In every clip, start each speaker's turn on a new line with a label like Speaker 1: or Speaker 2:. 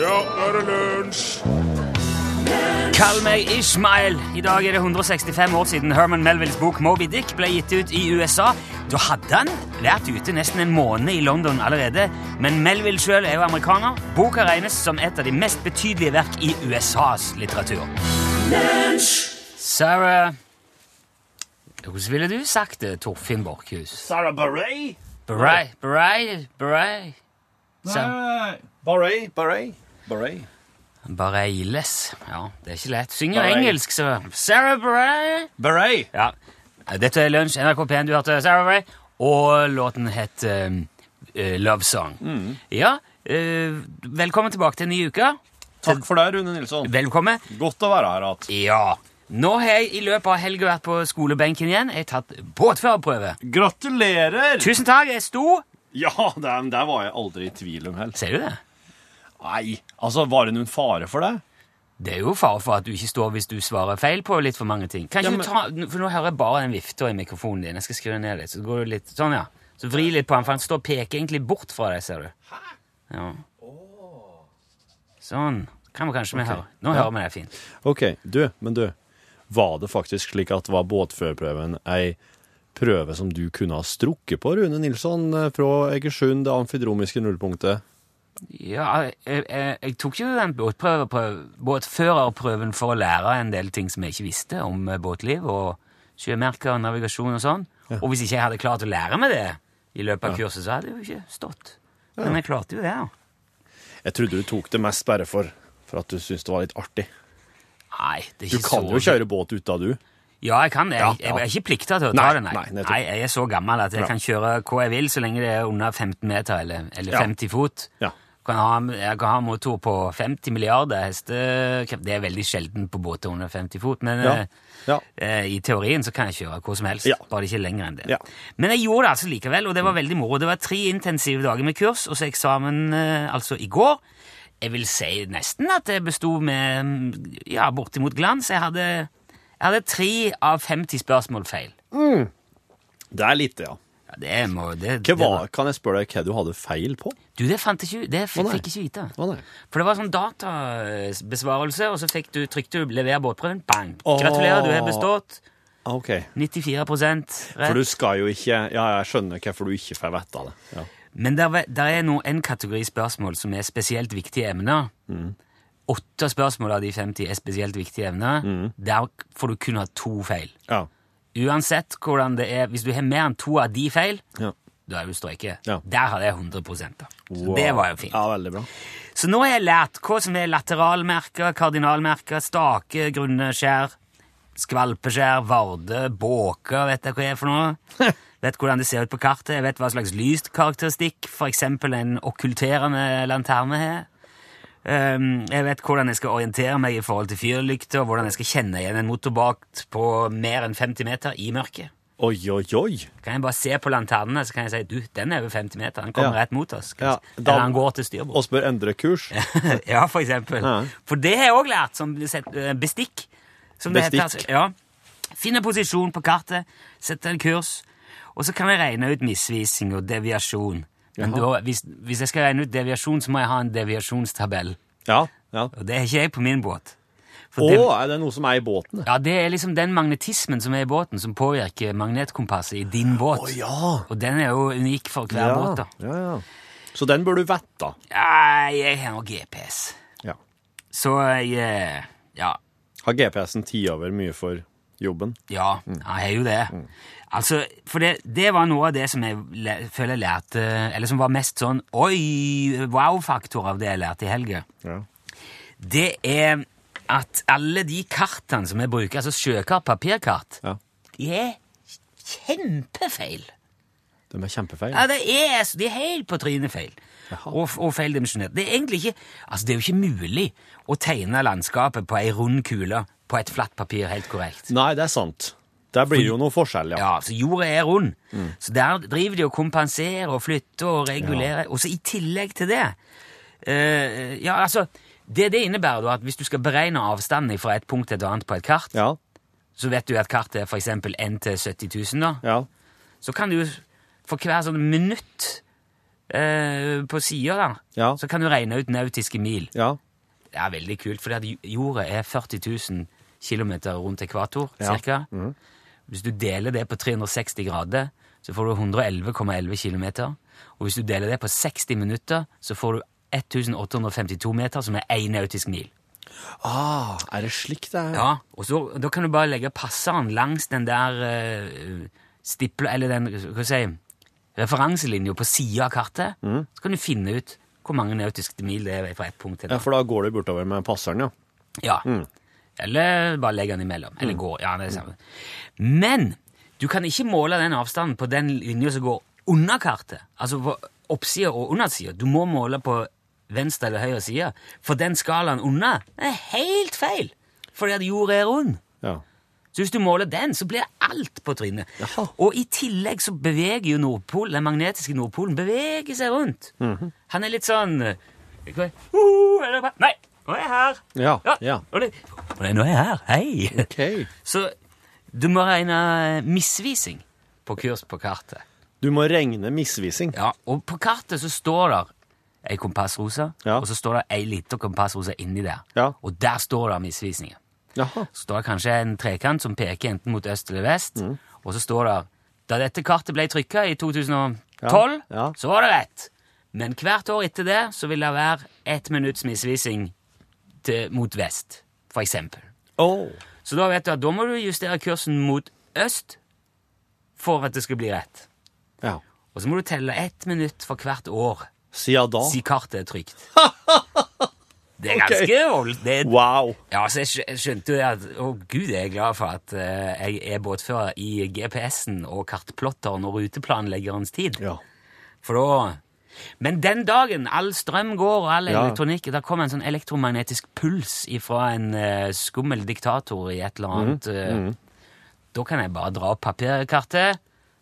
Speaker 1: Ja, nå er det lunsj!
Speaker 2: Kall meg Ishmael. I dag er det 165 år siden Herman Melvilles bok Moby Dick ble gitt ut i USA. Da hadde han vært ute nesten en måned i London allerede, men Melville sjøl er jo amerikaner. Boka regnes som et av de mest betydelige verk i USAs litteratur. Sarah Hvordan ville du sagt det, Torfinn Borchhus?
Speaker 1: Sarah Baray?
Speaker 2: Bray, bray, bray Sa-
Speaker 1: Baray, Baray, Baray.
Speaker 2: Barailes. Ja, det er ikke lett. Synger
Speaker 1: Bareil.
Speaker 2: engelsk, så Sarah Bray.
Speaker 1: Baray!
Speaker 2: Ja. Dette er Lunsj, NRK P1, du hørte Sarah Bray, og låten het ehm, eh, Love Song. Ja, eh, velkommen tilbake til en ny uke.
Speaker 1: Takk for deg, Rune Nilsson.
Speaker 2: Velkommen.
Speaker 1: Godt å være her igjen.
Speaker 2: Ja. Nå har jeg i løpet av helga vært på skolebenken igjen. Jeg har tatt båtførerprøve.
Speaker 1: Gratulerer!
Speaker 2: Tusen takk, jeg sto.
Speaker 1: Ja, der, der var jeg aldri i tvil om helt.
Speaker 2: Ser du det?
Speaker 1: Nei, altså, var det noen fare for deg?
Speaker 2: Det er jo fare for at du ikke står hvis du svarer feil på litt for mange ting. Kan
Speaker 1: Ja,
Speaker 2: ikke
Speaker 1: men-
Speaker 2: du ta, n- For nå hører jeg bare den vifta i mikrofonen din. Jeg skal skrive ned litt. Så går du litt sånn, ja. Så vri litt på den, for den står og peker egentlig bort fra deg, ser du. Ja. Sånn. Kan vi kanskje vi høre. Nå hører vi deg fint.
Speaker 1: Ok, du, men du. Var det faktisk slik at var båtførerprøven ei prøve som du kunne ha strukket på, Rune Nilsson, eh, fra Egersund, det amfidromiske nullpunktet?
Speaker 2: Ja, jeg, jeg, jeg tok jo den båtprøveprøv- båtførerprøven for å lære en del ting som jeg ikke visste om eh, båtliv og sjømerker og navigasjon og sånn. Og hvis ikke jeg hadde klart å lære meg det i løpet av kurset, så hadde jeg jo ikke stått. Men jeg klarte jo det, da.
Speaker 1: Jeg trodde du tok det mest bare for, for at du syntes det var litt artig.
Speaker 2: Nei, det er
Speaker 1: Du
Speaker 2: ikke
Speaker 1: kan
Speaker 2: så...
Speaker 1: jo kjøre båt ut av du.
Speaker 2: Ja, jeg kan det.
Speaker 1: Ja,
Speaker 2: Jeg,
Speaker 1: ja.
Speaker 2: jeg er ikke plikta til å ta
Speaker 1: Nei,
Speaker 2: det, nei.
Speaker 1: nei, nettopp.
Speaker 2: jeg er så gammel at jeg
Speaker 1: Ja.
Speaker 2: kan kjøre hva jeg vil, så lenge det er under 15 meter eller, eller
Speaker 1: Ja.
Speaker 2: 50 fot.
Speaker 1: Ja.
Speaker 2: Kan ha, jeg kan ha en motor på 50 milliarder hestekrefter. Det er veldig sjelden på båter under 50 fot, men
Speaker 1: Ja.
Speaker 2: eh,
Speaker 1: Ja.
Speaker 2: eh, i teorien så kan jeg kjøre hvor som helst,
Speaker 1: Ja.
Speaker 2: bare ikke lenger enn det.
Speaker 1: Ja. Mm.
Speaker 2: Men jeg gjorde det altså likevel, og det var veldig moro. Det var tre intensive dager med kurs, og så eksamen eh, altså i går. Jeg vil si nesten at jeg besto med mm, ja, bortimot glans. Jeg hadde, jeg hadde tre av 50 spørsmål feil.
Speaker 1: Det er lite, ja.
Speaker 2: Ja, det må, det,
Speaker 1: Hva
Speaker 2: det
Speaker 1: var, kan jeg spørre deg hva du hadde feil på?
Speaker 2: Du, det fant jeg ikke, det
Speaker 1: Å,
Speaker 2: fikk
Speaker 1: nei.
Speaker 2: jeg ikke vite.
Speaker 1: Å, nei.
Speaker 2: For det var sånn databesvarelse, og så fikk du, trykte du 'lever båtprøven'. Bang!
Speaker 1: Åh.
Speaker 2: Gratulerer, du har bestått.
Speaker 1: Ah, Ok.
Speaker 2: 94
Speaker 1: For
Speaker 2: rett.
Speaker 1: du skal jo ikke Ja, jeg skjønner hvorfor du ikke får vite det. Ja.
Speaker 2: Men der, ve- der er nå en kategori spørsmål som er spesielt viktige emner.
Speaker 1: Mm.
Speaker 2: Åtte spørsmål av de 50 er spesielt viktige emner.
Speaker 1: Mm.
Speaker 2: Der får du kun ha to feil.
Speaker 1: Ja.
Speaker 2: Uansett hvordan det er, hvis du har mer enn to av de feil,
Speaker 1: ja.
Speaker 2: da er du strøket.
Speaker 1: Ja.
Speaker 2: Der hadde jeg 100 da. Så
Speaker 1: Wow.
Speaker 2: det var jo fint.
Speaker 1: Ja, veldig bra.
Speaker 2: Så nå har jeg lært hva som er lateralmerker, kardinalmerker, stake, grunne skjær, skvalpeskjær, varde, båker, vet jeg hva det er for noe. vet hvordan det ser ut på kartet, jeg vet hva slags lyskarakteristikk, for eksempel en okkulterende lanterne har. Ehm, jeg vet hvordan jeg skal orientere meg i forhold til fyrlykter, og hvordan jeg skal kjenne igjen en motorbakt på mer enn 50 meter i mørket.
Speaker 1: Oi, oi, oi.
Speaker 2: Kan jeg bare se på lanternene, så kan jeg si, du, den er over 50 meter, den kommer
Speaker 1: Ja.
Speaker 2: rett mot oss.
Speaker 1: Ja, da-
Speaker 2: Eller han går til styrbord.
Speaker 1: Og spør endre kurs.
Speaker 2: ja, for eksempel.
Speaker 1: Ja.
Speaker 2: For det har jeg òg lært som blir sett- eh, bestikk. Som det heter.
Speaker 1: Bestikk.
Speaker 2: altså. Ja. Finne posisjon på kartet, sette en kurs, og så kan jeg regne ut misvisning og deviasjon. Men da, hvis, hvis jeg skal regne ut deviasjon, så må jeg ha en deviasjonstabell.
Speaker 1: Ja. ja.
Speaker 2: Og det har ikke jeg på min båt.
Speaker 1: Å,
Speaker 2: For det,
Speaker 1: er det noe som er i båten?
Speaker 2: ja, det er liksom den magnetismen som er i båten, som påvirker magnetkompasset i din båt.
Speaker 1: ja.
Speaker 2: Og den er jo unik for hver båt. da.
Speaker 1: ja, ja. Så den bør du vite.
Speaker 2: Nei, jeg har noe GPS.
Speaker 1: Ja.
Speaker 2: Så jeg eh, Ja.
Speaker 1: Har GPS-en tid over mye for jobben?
Speaker 2: Ja,
Speaker 1: Mm.
Speaker 2: jeg er jo det. Altså, for det, det var noe av det som jeg læ- føler jeg lærte, eller som var mest sånn oi, wow-faktor av det jeg lærte i helga.
Speaker 1: Ja.
Speaker 2: Det er at alle de kartene som jeg bruker, altså sjøkart, papirkart,
Speaker 1: ja.
Speaker 2: de er kjempefeil.
Speaker 1: De er kjempefeil.
Speaker 2: Ja, det er, altså, de er helt på trynet feil.
Speaker 1: Jaha.
Speaker 2: Og, og feildimensjonert. Det er egentlig ikke Altså, det er jo ikke mulig å tegne landskapet på ei rund kule på et flatt papir helt korrekt.
Speaker 1: Nei, det er sant. Der blir jo noe forskjell, ja.
Speaker 2: Ja, så jorda er rund.
Speaker 1: Mm.
Speaker 2: Så der driver de og kompenserer og flytter og regulerer. Og så i tillegg til det eh, Ja, altså det, det innebærer da at hvis du skal beregne avstanden fra et punkt til et annet på et kart,
Speaker 1: Ja.
Speaker 2: så vet du at kartet er f.eks. 1 til 70 000. Da.
Speaker 1: ja.
Speaker 2: Så kan du for hver sånn minutt eh, på sida der,
Speaker 1: Ja.
Speaker 2: så kan du regne ut nautiske mil.
Speaker 1: Ja.
Speaker 2: Det er veldig kult, for jorda er 40 000 km rundt ekvator,
Speaker 1: Ja.
Speaker 2: cirka. Hvis du deler det på 360 grader, så får du 111,11 km. Og hvis du deler det på 60 minutter, så får du 1852 meter, som er én nautisk mil.
Speaker 1: Ah, er det slik det er?
Speaker 2: Ja, og så, da kan du bare legge passeren langs den der uh, stipla, eller den, hva skal jeg si, referanselinja på sida av kartet. Så kan du finne ut hvor mange nautiske mil det er fra ett punkt til et
Speaker 1: Ja, for da går det bortover med passeren, ja.
Speaker 2: ja. Eller bare legge den imellom. Eller gå. Ja, det er det samme. Men du kan ikke måle den avstanden på den linja som går under kartet. Altså på oppsida og undersida. Du må måle på venstre eller høyre side. For den skalaen under den er helt feil! Fordi at jorda er rund.
Speaker 1: Ja.
Speaker 2: Så hvis du måler den, så blir alt på trynet.
Speaker 1: Jaha.
Speaker 2: Og i tillegg så beveger jo Nordpolen, den magnetiske Nordpolen beveger seg rundt. Han er litt sånn eh, hva- uh, eller bare- Nei, nå er jeg her!
Speaker 1: Ja. ja.
Speaker 2: Og det, og det, nå er jeg her! Hei!
Speaker 1: Ok.
Speaker 2: Så du må regne eh, misvising på kurs på kartet.
Speaker 1: Du må regne misvising.
Speaker 2: Ja, Og på kartet så står der ei kompassrose,
Speaker 1: Ja.
Speaker 2: og så står det ei lita kompassrose inni der.
Speaker 1: Ja.
Speaker 2: Og der står det misvisninger.
Speaker 1: Jaha.
Speaker 2: Så står det kanskje en trekant som peker enten mot øst eller vest,
Speaker 1: Mm.
Speaker 2: og så står det da dette kartet ble trykka i 2012,
Speaker 1: Ja, ja.
Speaker 2: så var det rett. Men hvert år etter det så vil det være ett minutts misvising til, mot vest, for eksempel.
Speaker 1: Oh.
Speaker 2: Så da vet du at da må du justere kursen mot øst for at det skal bli rett.
Speaker 1: Ja.
Speaker 2: Og så må du telle ett minutt for hvert år
Speaker 1: Sia da.
Speaker 2: siden kartet er trygt. Det er
Speaker 1: Ok.
Speaker 2: ganske vold. Det er
Speaker 1: Wow.
Speaker 2: ja, så jeg skj- jeg skjønte jo det at Å, gud, jeg er glad for at eh, jeg er båtfører i GPS-en og kartplotteren og ruteplanleggerens tid.
Speaker 1: Ja.
Speaker 2: For da Men den dagen all strøm går og all
Speaker 1: Ja.
Speaker 2: elektronikk Da kom en sånn elektromagnetisk puls ifra en eh, skummel diktator i et eller annet eh, Da kan jeg bare dra opp papirkartet,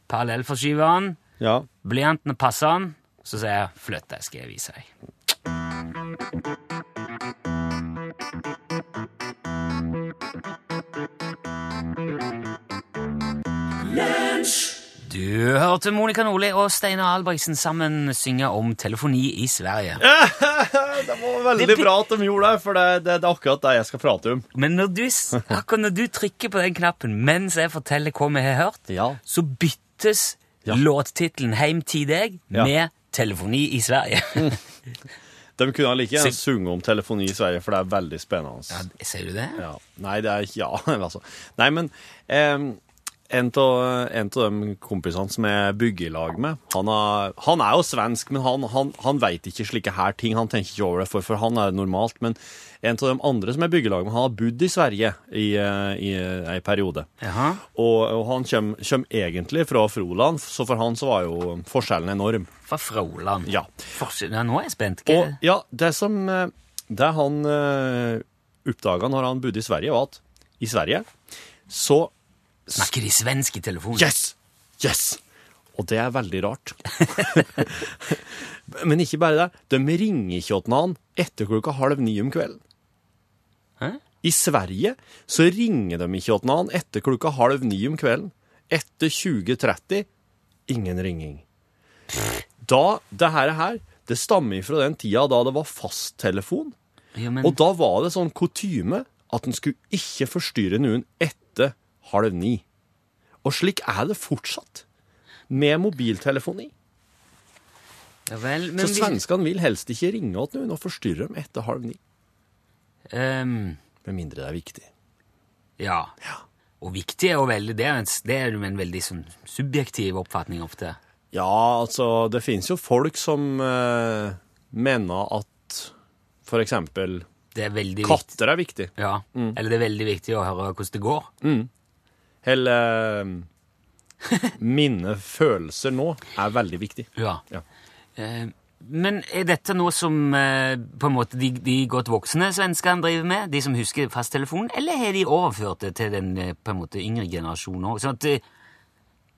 Speaker 2: parallellforskyveren,
Speaker 1: Ja.
Speaker 2: blyanten og passeren, så sier jeg 'flytt deg, skal jeg vise deg'. Du hørte Monica Nordli og Steinar Albrigtsen sammen synge om telefoni i Sverige.
Speaker 1: Det var veldig bra at de gjorde det, for det, det, det er akkurat det jeg skal prate om.
Speaker 2: Men når du, s- akkurat når du trykker på den knappen mens jeg forteller hva vi har hørt,
Speaker 1: Ja.
Speaker 2: så byttes
Speaker 1: Ja.
Speaker 2: låttittelen 'Heim til deg'
Speaker 1: Ja.
Speaker 2: med 'Telefoni i Sverige'.
Speaker 1: De kunne like gjerne
Speaker 2: Så-
Speaker 1: sunget om telefoni i Sverige, for det er veldig spennende.
Speaker 2: Ja, Ser du det?
Speaker 1: Ja. Nei, det er ikke Ja, altså. Nei, men em, en av de kompisene som jeg bygger i lag med, han er, han er jo svensk, men han, han, han veit ikke slike her ting. Han tenker ikke over det, for, for han er normalt. Men en av de andre som jeg bygger i lag med, han har bodd i Sverige i, eh, i eh, ei periode.
Speaker 2: Jaha.
Speaker 1: Og, og han kommer egentlig fra Froland, så for han så var jo forskjellen enorm.
Speaker 2: Fra Froland.
Speaker 1: Ja.
Speaker 2: Forskjell- ja, nå er jeg spent. Hva-
Speaker 1: Og ja, det som eh, Det han eh, oppdaga når han bodde i Sverige, var at i Sverige så
Speaker 2: Snakker de svensk i telefonen?
Speaker 1: Yes! Yes! Og det er veldig rart. Men ikke bare det. De ringer ikke til han etter klokka halv ni om kvelden.
Speaker 2: Hæ?
Speaker 1: I Sverige så ringer de ikke til han etter klokka halv ni om kvelden. Etter 20.30 ingen ringing. Da, det her, her, det stammer fra den tida da det var fasttelefon.
Speaker 2: Jo, men,
Speaker 1: Og da var det sånn kutyme at en skulle ikke forstyrre noen etter halv ni. Og slik er det fortsatt. Med mobiltelefoni.
Speaker 2: ja vel, men
Speaker 1: Så
Speaker 2: vi-
Speaker 1: svenskene vil helst ikke ringe til noen og forstyrre dem etter halv ni.
Speaker 2: Ehm,
Speaker 1: Med mindre det er viktig.
Speaker 2: ja. Og viktig er jo veldig det, er en s- det er jo en veldig sånn, subjektiv oppfatning ofte.
Speaker 1: Ja, altså, det finnes jo folk som eh, mener at for eksempel
Speaker 2: Det er veldig viktig.
Speaker 1: katter er viktig.
Speaker 2: Ja.
Speaker 1: Mm.
Speaker 2: Eller det er veldig viktig å høre hvordan det går.
Speaker 1: Eller eh, mine følelser nå er veldig viktig.
Speaker 2: Ja.
Speaker 1: Ja.
Speaker 2: Ehm, men er dette noe som eh, på en måte de, de godt voksne svenskene driver med, de som husker fasttelefonen, eller har de overført det til den eh, på en måte yngre generasjonen òg? Sånn at, eh,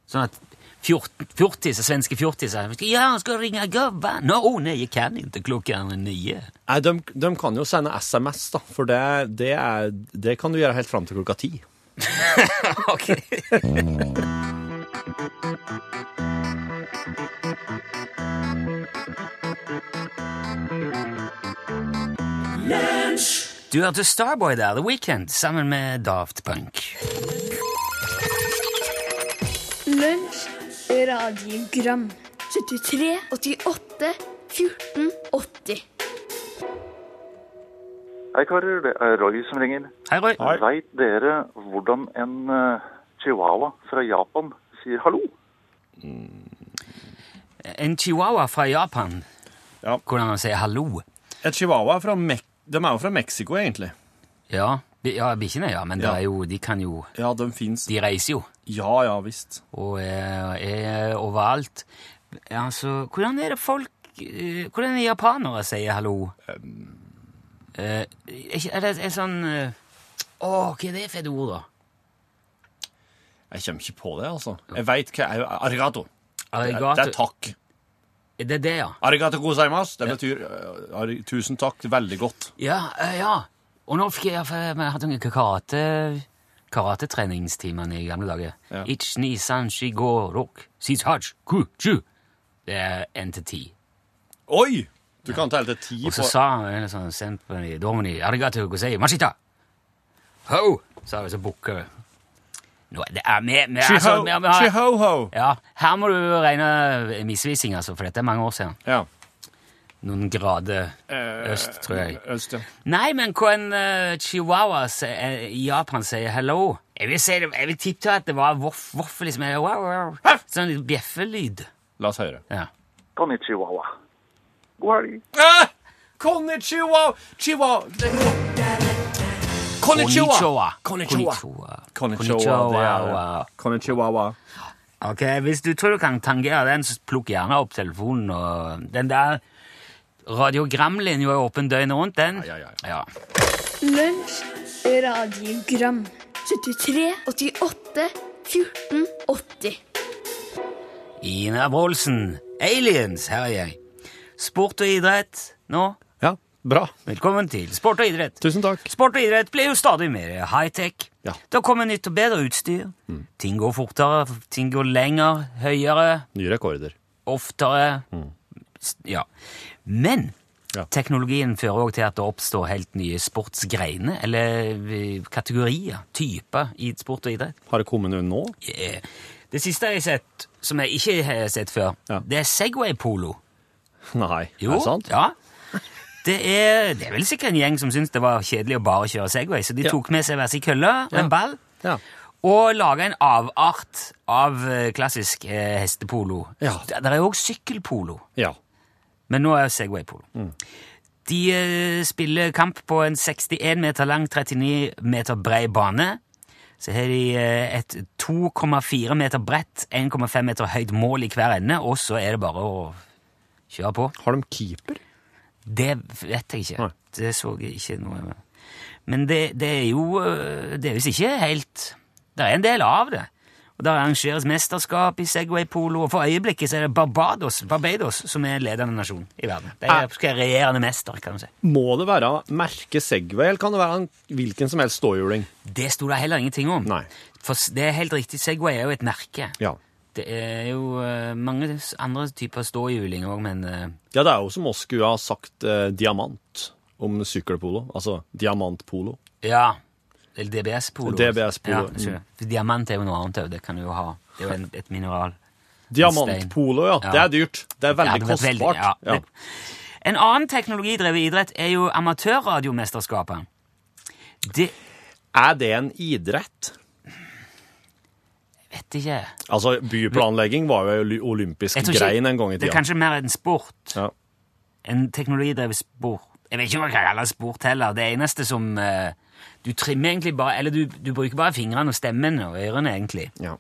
Speaker 2: sånn at fjort- fjortiser, svenske fjortiser Ja, han skal ringe gubben! Nå, å nei, jeg kan ikke klokka er nye.
Speaker 1: Nei, de, de kan jo sende SMS, da, for det, det, er, det kan du gjøre helt fram til klokka ti.
Speaker 2: Ok. Du hørte Starboy der, The Weekend, sammen med Daft Punk.
Speaker 3: Lunsj, radiogram 73, 88, 14, 80
Speaker 4: Hei, karer. Det er Roy som ringer.
Speaker 2: Hei, Roy.
Speaker 1: Hei.
Speaker 4: Veit dere hvordan en eh, chihuahua fra Japan sier hallo?
Speaker 2: En chihuahua fra Japan.
Speaker 1: Ja.
Speaker 2: Hvordan han sier hallo.
Speaker 1: Et chihuahua er fra Mek De er jo fra Mexico, egentlig.
Speaker 2: Ja, bi- ja bikkjene, ja. Men det
Speaker 1: Ja.
Speaker 2: Er jo, de kan jo
Speaker 1: Ja, de fins.
Speaker 2: De reiser jo
Speaker 1: Ja, ja visst.
Speaker 2: og er, er overalt. Altså, hvordan er det folk eh, Hvordan er det japanere sier hallo? Eh, er ikke- er det en sånn eh, Å, hva er det for et ord, da?
Speaker 1: Jeg kommer ikke på det, altså. Jeg veit hva jeg- Arigato. Det er, det er
Speaker 2: Arigato.
Speaker 1: takk.
Speaker 2: Er det det, ja?
Speaker 1: Arigato gozaimasu. Det betyr eh, ari- tusen takk, veldig godt.
Speaker 2: Ja, eh, ja. Og nå fikk jeg, for jeg hadde noen karate, karatetreningstimer i gamle dager.
Speaker 1: Ja.
Speaker 2: Ich ni san shi go rok, si saj ku chu. Det er én til ti.
Speaker 1: Oi! Du kan telle til ti
Speaker 2: Og
Speaker 1: på
Speaker 2: så sa han en sånn sempeni, domini, arigato gosei, mashita. Ho! Sa vi, så bukka vi. Nå, det er vi, vi, er altså,
Speaker 1: Chiho-
Speaker 2: vi, har- vi har,
Speaker 1: Chiho-ho.
Speaker 2: ja, her må du regne misvisning, altså, for dette er mange år siden.
Speaker 1: Ja.
Speaker 2: Noen grader
Speaker 1: Eh,
Speaker 2: øst, tror jeg.
Speaker 1: Øst, ja.
Speaker 2: Nei, men hva en eh, chihuahua se- eh, i Japan sier hello Jeg vil, si det, jeg vil tippe at det var voff, voff liksom, eh, wow, wow, wow. Sånn litt bjeffelyd.
Speaker 1: La oss høre.
Speaker 2: Ja.
Speaker 4: Kan i chihuahua. God helg.
Speaker 1: Ah! Konnichiwa! Chihuahua Konnichiwa!
Speaker 2: Konnichiwa. Konnichiwa.
Speaker 1: Konnichiwa.
Speaker 2: Ok, hvis du tror du kan tangere den, så plukk gjerne opp telefonen. Og den der radiogramlinja er åpen døgnet rundt, den.
Speaker 1: Ja, ja, ja.
Speaker 3: Lunsj, radiogram 73, 88, 14, 80
Speaker 2: Ina Wroldsen, Aliens, her er jeg. Sport og idrett nå.
Speaker 1: Ja, bra.
Speaker 2: Velkommen til Sport og idrett.
Speaker 1: Tusen takk.
Speaker 2: Sport og idrett blir jo stadig mer high-tech.
Speaker 1: Ja. Mm.
Speaker 2: Det kommer nytt og bedre utstyr. Ting går fortere, ting går lenger, høyere,
Speaker 1: Nye rekorder.
Speaker 2: oftere. S- Ja. Men
Speaker 1: Mm. Ja.
Speaker 2: teknologien fører òg til at det oppstår helt nye sportsgreiner, eller eh, kategorier, typer, i sport og idrett.
Speaker 1: Har det kommet noe nå?
Speaker 2: Eh, Det siste jeg har sett, som jeg ikke har sett før,
Speaker 1: Ja.
Speaker 2: det er Segway-polo.
Speaker 1: Nei.
Speaker 2: Jo,
Speaker 1: Er det sant?
Speaker 2: ja. Det er, det er vel sikkert en gjeng som syntes det var kjedelig å bare kjøre Segway, så de
Speaker 1: Ja.
Speaker 2: tok med seg hver sin kølle og en ball
Speaker 1: Ja.
Speaker 2: og laga en avart av eh, klassisk eh, hestepolo.
Speaker 1: Ja.
Speaker 2: Det, der er jo òg sykkelpolo,
Speaker 1: Ja.
Speaker 2: men nå er det Segway-polo. De eh, spiller kamp på en 61 meter lang, 39 meter brei bane. Så har de eh, et 2,4 meter bredt, 1,5 meter høyt mål i hver ende, og så er det bare å kjøre på.
Speaker 1: Har de keeper?
Speaker 2: Det vet jeg ikke.
Speaker 1: Nei.
Speaker 2: Det så jeg ikke noe med. Men det, det er jo øh, Det er visst ikke helt Det er en del av det. Og Det arrangeres mesterskap i Segway-polo, og for øyeblikket så er det Barbados, Barbados som er en ledende nasjon i verden. De
Speaker 1: Ah.
Speaker 2: er skal være regjerende mester, kan du si.
Speaker 1: Må det være merket Segway, eller kan det være en hvilken som helst ståhjuling?
Speaker 2: Det sto det heller ingenting om.
Speaker 1: Nei.
Speaker 2: For s- det er helt riktig, Segway er jo et merke.
Speaker 1: Ja.
Speaker 2: Det er jo øh, mange s- andre typer ståhjuling òg, men øh,
Speaker 1: ja, det er jo som oss skulle ha sagt eh, diamant om sykkelpolo. Altså diamantpolo.
Speaker 2: Ja. Eller DBS-polo.
Speaker 1: DBS-polo,
Speaker 2: Ja, jeg skjønner. For Diamant er jo noe annet òg. Det kan du jo ha. Det er jo en, et mineral.
Speaker 1: Diamantpolo, ja.
Speaker 2: Ja.
Speaker 1: Det er dyrt. Det er
Speaker 2: Ja,
Speaker 1: veldig
Speaker 2: det vet veldig-
Speaker 1: kostbart.
Speaker 2: ja,
Speaker 1: Ja.
Speaker 2: det- En annen teknologidrevet idrett er jo amatørradiomesterskapet. Det
Speaker 1: Er det en idrett?
Speaker 2: vet ikke jeg.
Speaker 1: Altså, byplanlegging var jo en oly- olympisk
Speaker 2: tror ikke-
Speaker 1: grein en gang i
Speaker 2: Det er
Speaker 1: tida.
Speaker 2: kanskje mer en sport.
Speaker 1: Ja.
Speaker 2: En teknologidrevet sport. Jeg vet ikke om jeg kan kalle det sport heller. Det eneste som eh, Du trimmer egentlig bare Eller du, du bruker bare fingrene og stemmen og ørene, egentlig.
Speaker 1: Ja.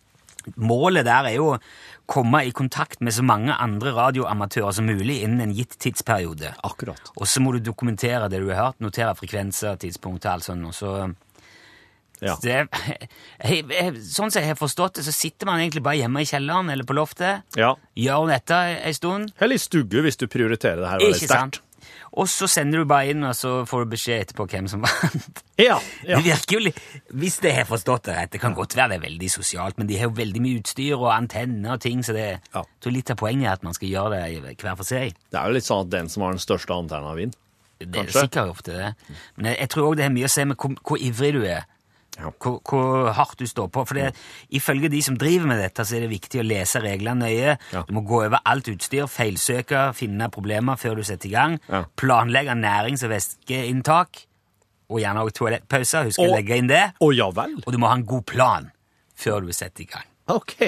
Speaker 2: Målet der er jo å komme i kontakt med så mange andre radioamatører som mulig innen en gitt tidsperiode.
Speaker 1: Akkurat.
Speaker 2: Og så må du dokumentere det du har hørt, notere frekvenser, tidspunkt og alt sånt. Og så,
Speaker 1: Ja.
Speaker 2: det, jeg, jeg, sånn som jeg har forstått det, så sitter man egentlig bare hjemme i kjelleren eller på loftet,
Speaker 1: ja.
Speaker 2: gjør dette ei stund,
Speaker 1: Eller i stugge, hvis du prioriterer det her veldig
Speaker 2: ikke
Speaker 1: sterkt.
Speaker 2: sant? Og så sender du bare inn, og så får du beskjed etterpå hvem som vant.
Speaker 1: Ja, ja.
Speaker 2: Det virker jo litt, Hvis jeg har forstått det rett, det kan godt være det er veldig sosialt, men de har jo veldig mye utstyr og antenner og ting, så det
Speaker 1: Ja.
Speaker 2: jeg tror litt av poenget er at man skal gjøre det hver for seg.
Speaker 1: Det er jo litt sånn at den som har den største antenna, vinner.
Speaker 2: Det er
Speaker 1: Kanskje.
Speaker 2: sikkert ofte det. Men jeg, jeg tror òg det har mye å si med hvor, hvor ivrig du er.
Speaker 1: Ja.
Speaker 2: Hvor, hvor hardt du står på. For det, ifølge de som driver med dette, så er det viktig å lese reglene nøye.
Speaker 1: Ja.
Speaker 2: Du må gå over alt utstyr, feilsøke, finne problemer før du setter i gang.
Speaker 1: Ja.
Speaker 2: Planlegge nærings- og væskeinntak. Og gjerne òg toalettpauser. Husk å
Speaker 1: Og-
Speaker 2: legge inn det.
Speaker 1: Å ja vel?
Speaker 2: Og du må ha en god plan før du setter i gang.
Speaker 1: OK.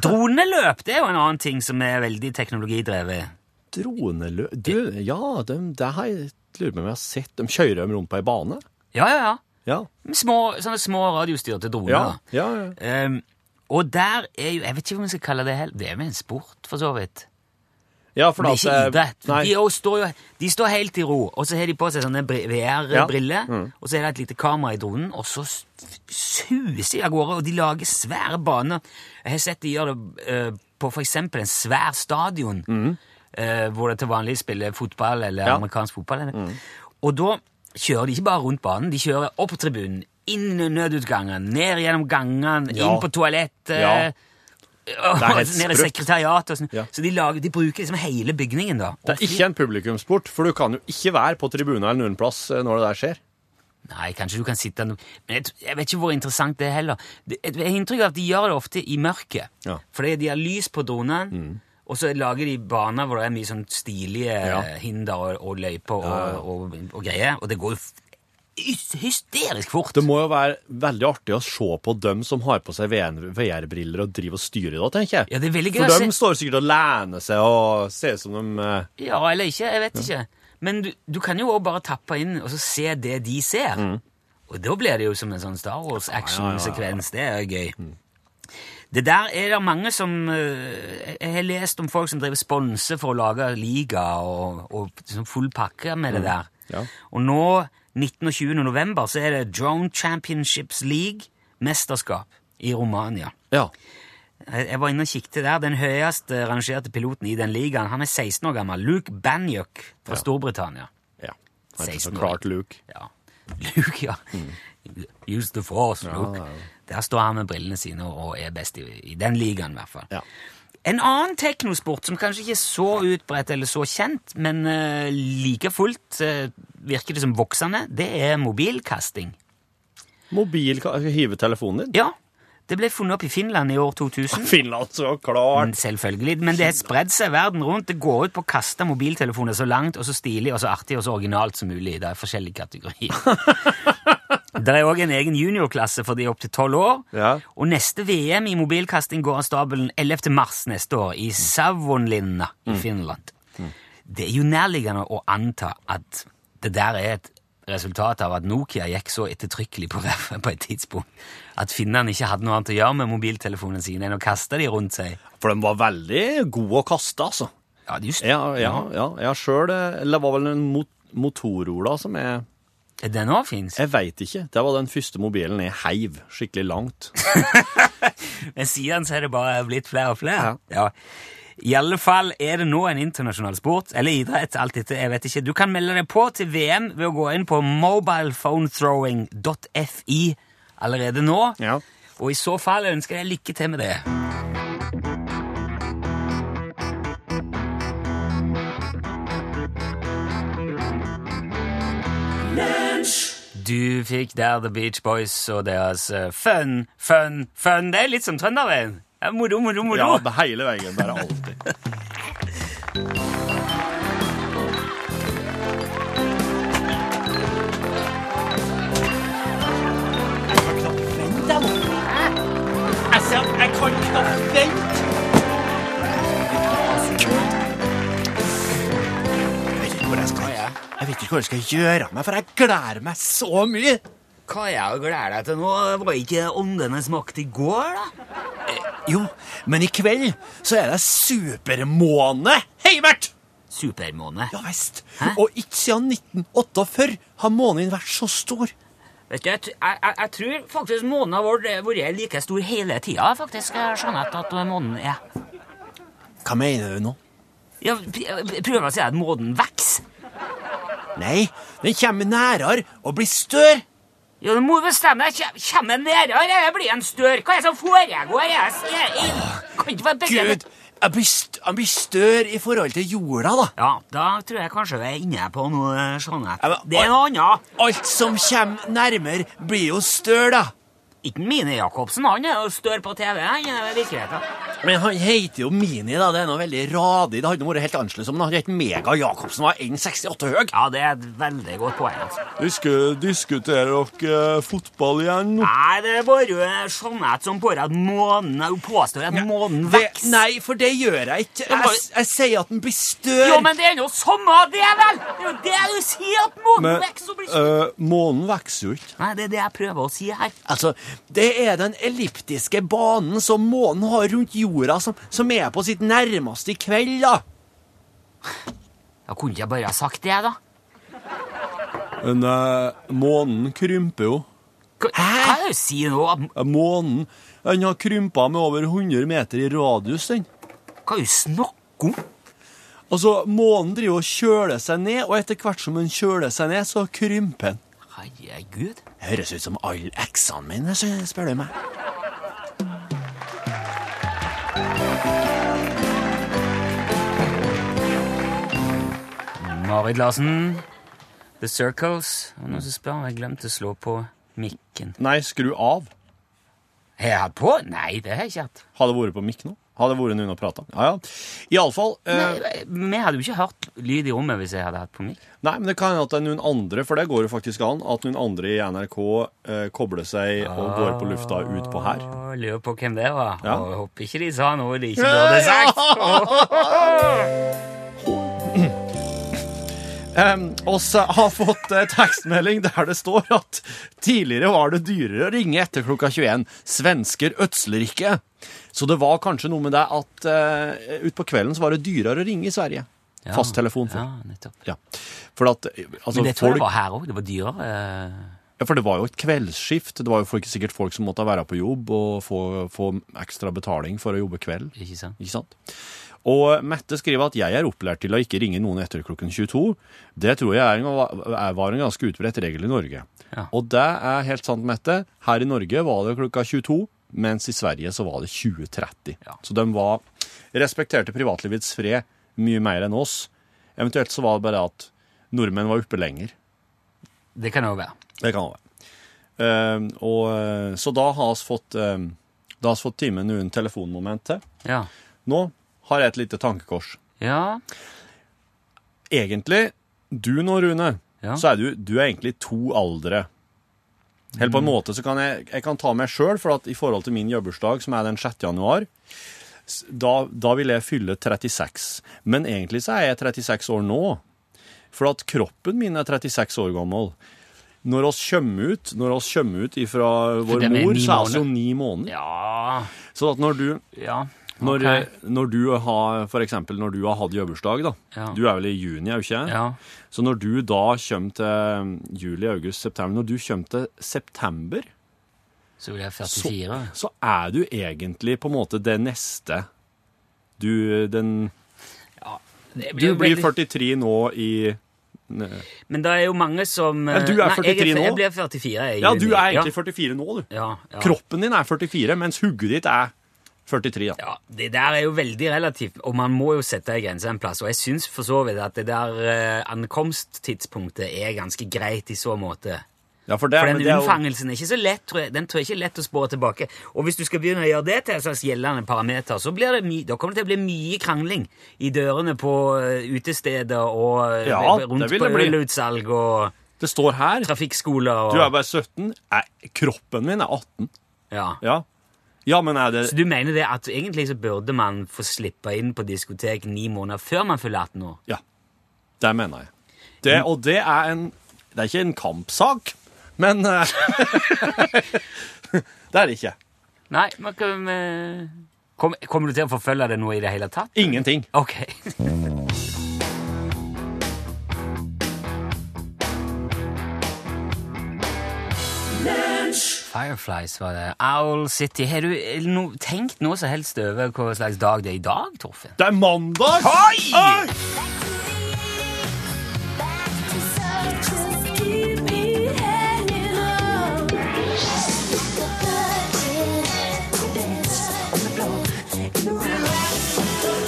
Speaker 2: Droneløp det er jo en annen ting som er veldig teknologidrevet.
Speaker 1: Dronelø... Du, ja, de, det har jeg lurer på om jeg har sett. De kjører dem rundt på ei bane.
Speaker 2: Ja, ja, ja.
Speaker 1: Ja.
Speaker 2: Små, sånne små radiostyrte droner.
Speaker 1: Ja.
Speaker 2: da.
Speaker 1: ja, ja.
Speaker 2: Ehm, og der er jo Jeg vet ikke om vi skal kalle det heller Det er vel en sport, for så vidt.
Speaker 1: ja for
Speaker 2: Men det er
Speaker 1: at,
Speaker 2: ikke
Speaker 1: eh,
Speaker 2: idrett.
Speaker 1: Nei.
Speaker 2: De, er jo- står jo, de står helt i ro, og så har de på seg sånne bri- VR-briller,
Speaker 1: Mm.
Speaker 2: og så er det et lite kamera i dronen, og så s- suser de av gårde, og de lager svære baner. Jeg har sett de gjør det eh, på for eksempel en svær stadion, eh, hvor det til vanlig spiller fotball eller
Speaker 1: Mm. Ja. Mm.
Speaker 2: amerikansk fotball. Eller. Og da kjører de ikke bare rundt banen, de kjører opp tribunen, inn i nødutgangen, ned gjennom gangene,
Speaker 1: Ja.
Speaker 2: inn på toalettet,
Speaker 1: Ja.
Speaker 2: og
Speaker 1: helt
Speaker 2: ned i
Speaker 1: sprøtt.
Speaker 2: sekretariatet og sånn.
Speaker 1: Ja.
Speaker 2: Så de, lager, de bruker liksom hele bygningen, da.
Speaker 1: Det er ikke en publikumsport, for du kan jo ikke være på tribunen eller noen plass eh, når det der skjer.
Speaker 2: Nei, kanskje du kan sitte no- Men jeg, tr- jeg vet ikke hvor interessant det er heller. Det- Jeg jeg har inntrykk av at de gjør det ofte i mørket.
Speaker 1: Ja. Mm.
Speaker 2: Fordi de har lys på dronen, og så lager de baner hvor det er mye sånn stilige
Speaker 1: Ja.
Speaker 2: eh, hinder og, og løyper og, og, og, greier, og det går jo f- hys- hysterisk fort.
Speaker 1: Det må jo være veldig artig å se på dem som har på seg VR- VR-briller og driver og styrer da, tenker jeg.
Speaker 2: Ja, det er veldig gøy å
Speaker 1: For dem
Speaker 2: se.
Speaker 1: står sikkert og lener seg og ser ut som de eh,
Speaker 2: Ja, eller ikke, jeg vet ikke. Men du, du kan jo også bare tappe inn og så se det de ser. Og da blir det jo som en sånn Star Wars-action-sekvens. Det er jo gøy. Det der er det mange som eh, Jeg har lest om folk som driver sponse for å lage liga og, og liksom full pakke med det der.
Speaker 1: Ja.
Speaker 2: Og nå, 19. og 20. november, så er det Drone Championships League-mesterskap i Romania.
Speaker 1: Ja.
Speaker 2: Jeg jeg var inne og kikket der. Den høyest eh, rangerte piloten i den ligaen, han er 16 år gammel. Luke Banyuk fra Storbritannia.
Speaker 1: ja. Det er ikke
Speaker 2: 16
Speaker 1: så
Speaker 2: år.
Speaker 1: klart Luke.
Speaker 2: Ja. Luke, ja. Use the force, Luke. Der står han med brillene sine og er best i, i den ligaen, i hvert fall.
Speaker 1: Ja.
Speaker 2: En annen teknosport som kanskje ikke er så utbredt eller så kjent, men eh, like fullt eh, virker det som voksende, det er mobilkasting.
Speaker 1: Mobil kan hive telefonen din.
Speaker 2: Ja, det ble funnet opp i Finland i år 2000.
Speaker 1: Finland, så klart!
Speaker 2: Men Selvfølgelig, men det har spredd seg verden rundt. Det går ut på å kaste mobiltelefoner så langt og så stilig og så artig og så originalt som mulig. Det er forskjellige kategorier. det er òg en egen juniorklasse for de opp til tolv år.
Speaker 1: Ja.
Speaker 2: Og neste VM i mobilkasting går av stabelen 11. mars neste år i Savonlinna i Finland. Det er jo nærliggende å anta at det der er et resultat av at Nokia gikk så ettertrykkelig på ræva på et tidspunkt at finnene ikke hadde noe annet å gjøre med mobiltelefonene sine enn å kaste de rundt seg.
Speaker 1: For de var veldig gode å kaste, altså.
Speaker 2: Ja, det er just
Speaker 1: Ja, ja, ja. Jeg sjøl Eller det var vel en mot Motorola som jeg
Speaker 2: Er Den òg fins.
Speaker 1: Jeg veit ikke. Det var den første mobilen jeg heiv skikkelig langt.
Speaker 2: Men siden så er det bare blitt flere og flere. Ja. I alle fall er det nå en internasjonal sport, eller idrett, alt dette, jeg vet ikke. Du kan melde deg på til VM ved å gå inn på mobilephonethrowing.fi allerede nå.
Speaker 1: Ja.
Speaker 2: Og i så fall ønsker jeg lykke til med det. Du fikk der The Beach Boys og deres eh, fun, fun, fun. Det er litt som Trønderveien. Ja, Moro, moro, moro.
Speaker 1: Ja, det hele veien. Bare alltid.
Speaker 5: Jeg vet ikke hva jeg skal gjøre meg, for jeg gleder meg så mye.
Speaker 2: Hva er jeg gleder deg til nå? Var ikke åndene smakt i går, da?
Speaker 5: Jo, men i kveld så er det supermåne, Heimert!
Speaker 2: Supermåne.
Speaker 5: Ja visst. Og ikke siden 1948 har månen vært så stor.
Speaker 2: Vet du, jeg, tr- jeg, jeg- jeg tror faktisk månen har vært eh, vært like stor hele tida, faktisk, eh, Jeanette, at månen er
Speaker 5: Hva mener du nå?
Speaker 2: Ja, p- jeg prøver å si at månen vokser.
Speaker 5: Nei, den kommer nærere og blir større.
Speaker 2: Ja, du må bestemme deg. Kjem- Kommer den nærmere? Jeg blir en større. Hva er det som foregår? Jeg ser inn. Kan ikke være begge
Speaker 5: Gud, Jeg blir st- Han blir større i forhold til jorda, da.
Speaker 2: Ja, da tror jeg kanskje vi er inne på noe
Speaker 5: Ja,
Speaker 2: Jeanette.
Speaker 5: men-
Speaker 2: Det er noe annet.
Speaker 5: Alt som kommer nærmere, blir jo større, da.
Speaker 2: Ikke Mine Jacobsen, han er jo større på TV enn i eh, virkeligheten.
Speaker 5: Men han heter jo Mini, da. Det er noe veldig radig. Det hadde nå vært helt annerledes om han hadde hett Mega Jacobsen og var 1,68 høy.
Speaker 2: Ja, det er et veldig godt poeng, altså.
Speaker 1: Diskuterer dere eh, fotball igjen?
Speaker 2: Nei, det er bare Jeanette som pårer at månen Hun påstår at månen
Speaker 5: Det-
Speaker 2: vokser.
Speaker 5: Nei, for det gjør jeg ikke.
Speaker 2: Ja,
Speaker 5: Jeg,
Speaker 2: men-
Speaker 5: s- jeg sier at den blir større.
Speaker 2: Jo, men det er jo samme det, vel! Det er jo det du sier, at månen vokser og
Speaker 5: øh,
Speaker 2: blir stor.
Speaker 1: månen vokser jo ikke.
Speaker 2: Nei, det er det jeg prøver å si her.
Speaker 5: Altså, Det er den elliptiske banen som månen har rundt jorda, som, som er på sitt nærmeste i kveld, da.
Speaker 2: Da kunne ikke jeg bare ha sagt det, da.
Speaker 1: Men eh, månen krymper jo.
Speaker 2: Hva hva er det du sier nå? At-
Speaker 1: Eh, Månen den har krympa med over 100 meter i radius. den.
Speaker 2: Hva er det du snakker om?
Speaker 1: Altså, Månen driver og kjøler seg ned, og etter hvert som den kjøler seg ned, så krymper den.
Speaker 2: Herregud.
Speaker 5: Høres ut som alle eksene mine, så spør du meg.
Speaker 2: Marit Larsen, The Circles. Og noen som spør om jeg glemte å slå på mikken.
Speaker 1: Nei, skru av.
Speaker 2: Har jeg hatt på? Nei, det har jeg ikke hatt.
Speaker 1: Har det vært på mikk nå? Har det vært noen å prate om? Ja, ja. Iallfall eh, nei.
Speaker 2: Nei, Vi hadde jo ikke hørt lyd i rommet hvis jeg hadde hatt på mikk.
Speaker 1: nei, men det kan hende at det er noen andre, for det går jo faktisk an at noen andre i NRK eh, kobler seg og går på lufta utpå her.
Speaker 2: Å, Lurer på hvem det var.
Speaker 1: Ja.
Speaker 2: Og jeg håper ikke de sa noe de ikke burde sagt.
Speaker 1: Um, oss har fått eh, tekstmelding der det står at tidligere var det dyrere å ringe etter klokka 21. Svensker ødsler ikke. Så det var kanskje noe med det at uh, utpå kvelden så var det dyrere å ringe i Sverige.
Speaker 2: Ja.
Speaker 1: Fasttelefon.
Speaker 2: Ja,
Speaker 1: For.
Speaker 2: nettopp.
Speaker 1: Ja. For, at, eh, altså,
Speaker 2: Men det tror jeg
Speaker 1: folk,
Speaker 2: var her òg. Det var dyrere.
Speaker 1: ja, for det var jo et kveldsskift. Det var jo folk, sikkert folk som måtte være på jobb og få, få ekstra betaling for å jobbe kveld.
Speaker 2: eh, Ikke sant?
Speaker 1: Ikke sant? Og Mette skriver at jeg er opplært til å ikke ringe noen etter klokken 22. Det tror jeg er en, er- var en ganske utbredt regel i Norge.
Speaker 2: Ja.
Speaker 1: Og det er helt sant, Mette. Her i Norge var det klokka 22, mens i Sverige så var det 20.30.
Speaker 2: Ja.
Speaker 1: Så de var, respekterte privatlivets fred mye mer enn oss. Eventuelt så var det bare at nordmenn var oppe lenger.
Speaker 2: Det kan det òg være.
Speaker 1: Det kan det være. Eh, og, eh, så da har vi fått, um, fått timen noen telefonmoment til.
Speaker 2: Ja.
Speaker 1: Nå har jeg et lite tankekors.
Speaker 2: ja.
Speaker 1: egentlig, du nå, Rune,
Speaker 2: Ja.
Speaker 1: så er du, du er egentlig to aldre. Helt
Speaker 2: Mm.
Speaker 1: på en måte så kan jeg, jeg kan ta meg sjøl, for at i forhold til min jobbursdag, som er den 6. januar, s- da, da vil jeg fylle 36. Men egentlig så er jeg 36 år nå. For at kroppen min er 36 år gammel. Når oss kommer ut, når oss kommer ut ifra vår
Speaker 2: den er
Speaker 1: mor,
Speaker 2: ni
Speaker 1: så er vi jo ni måneder.
Speaker 2: Ja,
Speaker 1: Så at når du,
Speaker 2: ja.
Speaker 1: når,
Speaker 2: ok.
Speaker 1: når du har, for eksempel når du har hatt jobbursdag, da.
Speaker 2: Ja.
Speaker 1: Du er vel i juni, er du ikke?
Speaker 2: Ja.
Speaker 1: Så når du da kommer til um, juli, august, september Når du kommer til september,
Speaker 2: Så blir jeg
Speaker 1: så,
Speaker 2: 44.
Speaker 1: så er du egentlig på en måte det neste. Du, uh, den,
Speaker 2: Det
Speaker 1: du
Speaker 2: jo
Speaker 1: blir
Speaker 2: veldig-
Speaker 1: 43 nå i
Speaker 2: Men det er jo mange som eh,
Speaker 1: Ja, du er
Speaker 2: Nei, jeg
Speaker 1: 43 nå.
Speaker 2: Jeg blir 44 i
Speaker 1: Ja, du
Speaker 2: juni.
Speaker 1: er egentlig 44 nå, du.
Speaker 2: ja, ja, ja.
Speaker 1: Kroppen din er 44, mens hugget ditt er 43. da.
Speaker 2: ja, Det der er jo veldig relativt, og man må jo sette en grense en plass. Og jeg syns for så vidt at det der eh, ankomsttidspunktet er ganske greit i så måte.
Speaker 1: Ja, for det,
Speaker 2: For
Speaker 1: men
Speaker 2: den
Speaker 1: det er jo-
Speaker 2: unnfangelsen er ikke så lett, tror jeg. Den tror jeg ikke er lett å spåre tilbake. Og hvis du skal begynne å gjøre det til en slags gjeldende parameter, så blir det my da kommer det til å bli mye krangling i dørene på eh, utesteder og eh,
Speaker 1: Ja,
Speaker 2: rundt
Speaker 1: det vil
Speaker 2: på
Speaker 1: det bli.
Speaker 2: ølutsalg og
Speaker 1: Det står her.
Speaker 2: trafikkskoler og
Speaker 1: Du er bare 17. Er, kroppen min er 18.
Speaker 2: ja.
Speaker 1: Ja. ja, men er det
Speaker 2: Så du mener det at egentlig så burde man få slippe inn på diskotek ni måneder før man fyller 18 år?
Speaker 1: Ja, det mener jeg. Det, og det er en Det er ikke en kampsak, men eh, Det er det ikke.
Speaker 2: Nei, man kan eh, kom, Kommer du til å forfølge det nå i det hele tatt?
Speaker 1: Ingenting.
Speaker 2: Ok. Fireflies var det. Owl City. Har du eh, no, tenkt noe som helst over hva slags dag det er i dag, Torfinn?
Speaker 1: Det er mandag!
Speaker 2: Oi!
Speaker 6: Yeah.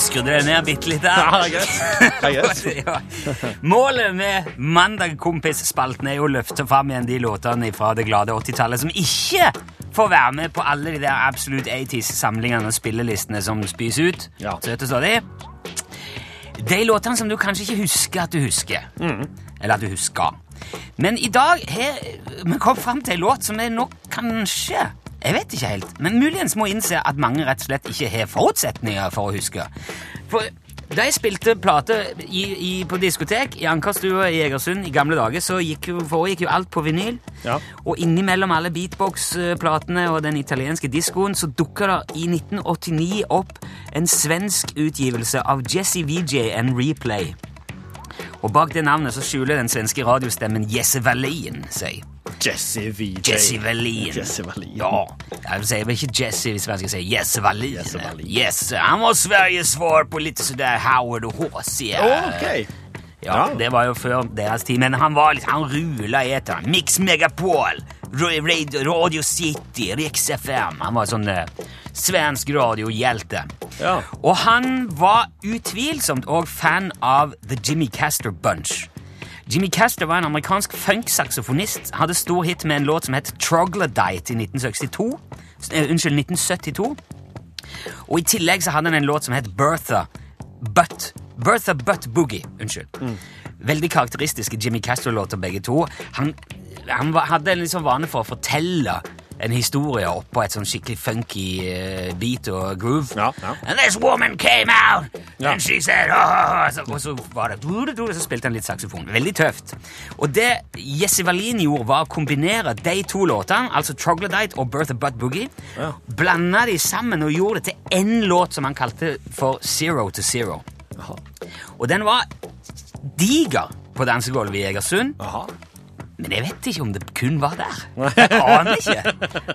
Speaker 2: skrudde det ned bitte litt der.
Speaker 1: Ja, det er greit. Det er greit.
Speaker 2: Ja. Målet med Mandagkompis-spalten er jo å løfte fram igjen de låtene fra det glade 80-tallet som ikke får være med på alle de der Absolute 80s-samlingene og spillelistene som spys ut.
Speaker 1: Ja.
Speaker 2: Søte står de. De låtene som du kanskje ikke husker at du husker. Eller at du husker. Men i dag har vi kommet fram til en låt som vi nok kanskje jeg vet ikke helt, men muligens må innse at mange rett og slett ikke har forutsetninger for å huske. For da jeg spilte plate i, i, på diskotek i Ankerstua i Egersund i gamle dager, så gikk jo, foregikk jo alt på vinyl.
Speaker 1: Ja.
Speaker 2: Og innimellom alle beatbox-platene og den italienske diskoen så dukker det i 1989 opp en svensk utgivelse av Jesse VJ and Replay. Og bak det navnet så skjuler den svenske radiostemmen Jesse Wallin seg.
Speaker 1: Jesse VJ.
Speaker 2: Jesse Wallin.
Speaker 1: Jesse Wallin.
Speaker 2: Ja, jeg sier vel ikke Jesse hvis jeg skal si Jesse Wallin.
Speaker 1: Jesse Wallin.
Speaker 2: Jesse, han var Sveriges svar på litt sådär Howard og H.C.
Speaker 1: Ok.
Speaker 2: Ja,
Speaker 1: Ja.
Speaker 2: det var jo før deres tid, men han var litt, han rula i etter. Mix Megapol, Ra- Radio, radio City, Rix FM. Han var sånn eh, svensk radiohjelte.
Speaker 1: Ja.
Speaker 2: Og han var utvilsomt òg fan av The Jimmy Castor Bunch. Jimmy Castor var en amerikansk funk-saksofonist. Hadde stor hit med en låt som het Troglodyte i 1962. eh, Unnskyld, 1972. Og i tillegg så hadde han en låt som het Bertha Butt. Bertha Butt Boogie. Unnskyld.
Speaker 1: Mm.
Speaker 2: Veldig karakteristiske Jimmy Castro-låter, begge to. Han, han var, hadde en liksom vane for å fortelle en historie oppå et sånn skikkelig funky eh, beat og groove.
Speaker 1: Ja, ja.
Speaker 2: And this woman came out,
Speaker 1: Ja.
Speaker 2: and she said oh, så, Og så var det og så spilte han litt saksofon. Veldig tøft. Og det Jesse Wallin gjorde, var å kombinere de to låtene, altså Troglodyte og Bertha Butt Boogie,
Speaker 1: Ja.
Speaker 2: blanda de sammen og gjorde det til én låt som han kalte for Zero to Zero.
Speaker 1: Jaha.
Speaker 2: Og den var diger på dansegulvet i Egersund.
Speaker 1: Jaha.
Speaker 2: Men jeg vet ikke om det kun var der. Jeg aner ikke.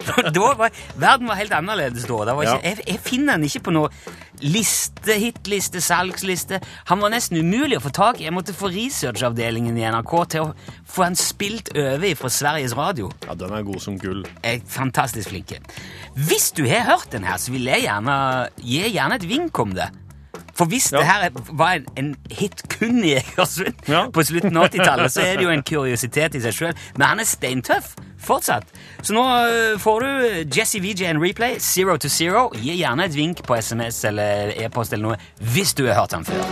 Speaker 2: For Da var, verden var helt annerledes da. Det var ikke,
Speaker 1: Ja.
Speaker 2: jeg, jeg finner den ikke på noe liste, hitliste, salgsliste. Han var nesten umulig å få tak i. Jeg måtte få researchavdelingen i NRK til å få han spilt over fra Sveriges Radio.
Speaker 1: Ja, den er god som gull.
Speaker 2: er fantastisk flinke. Hvis du har hørt den her, så vil jeg gjerne gi gjerne et vink om det. For hvis
Speaker 1: Ja.
Speaker 2: det her er- var en, en hit kun i Egersund
Speaker 1: Ja.
Speaker 2: på slutten av 80-tallet, så er det jo en kuriositet i seg sjøl. Men han er steintøff fortsatt. Så nå øh, får du Jesse VJ en replay, zero to zero. Gi gjerne et vink på SMS eller e-post eller noe hvis du har hørt han før.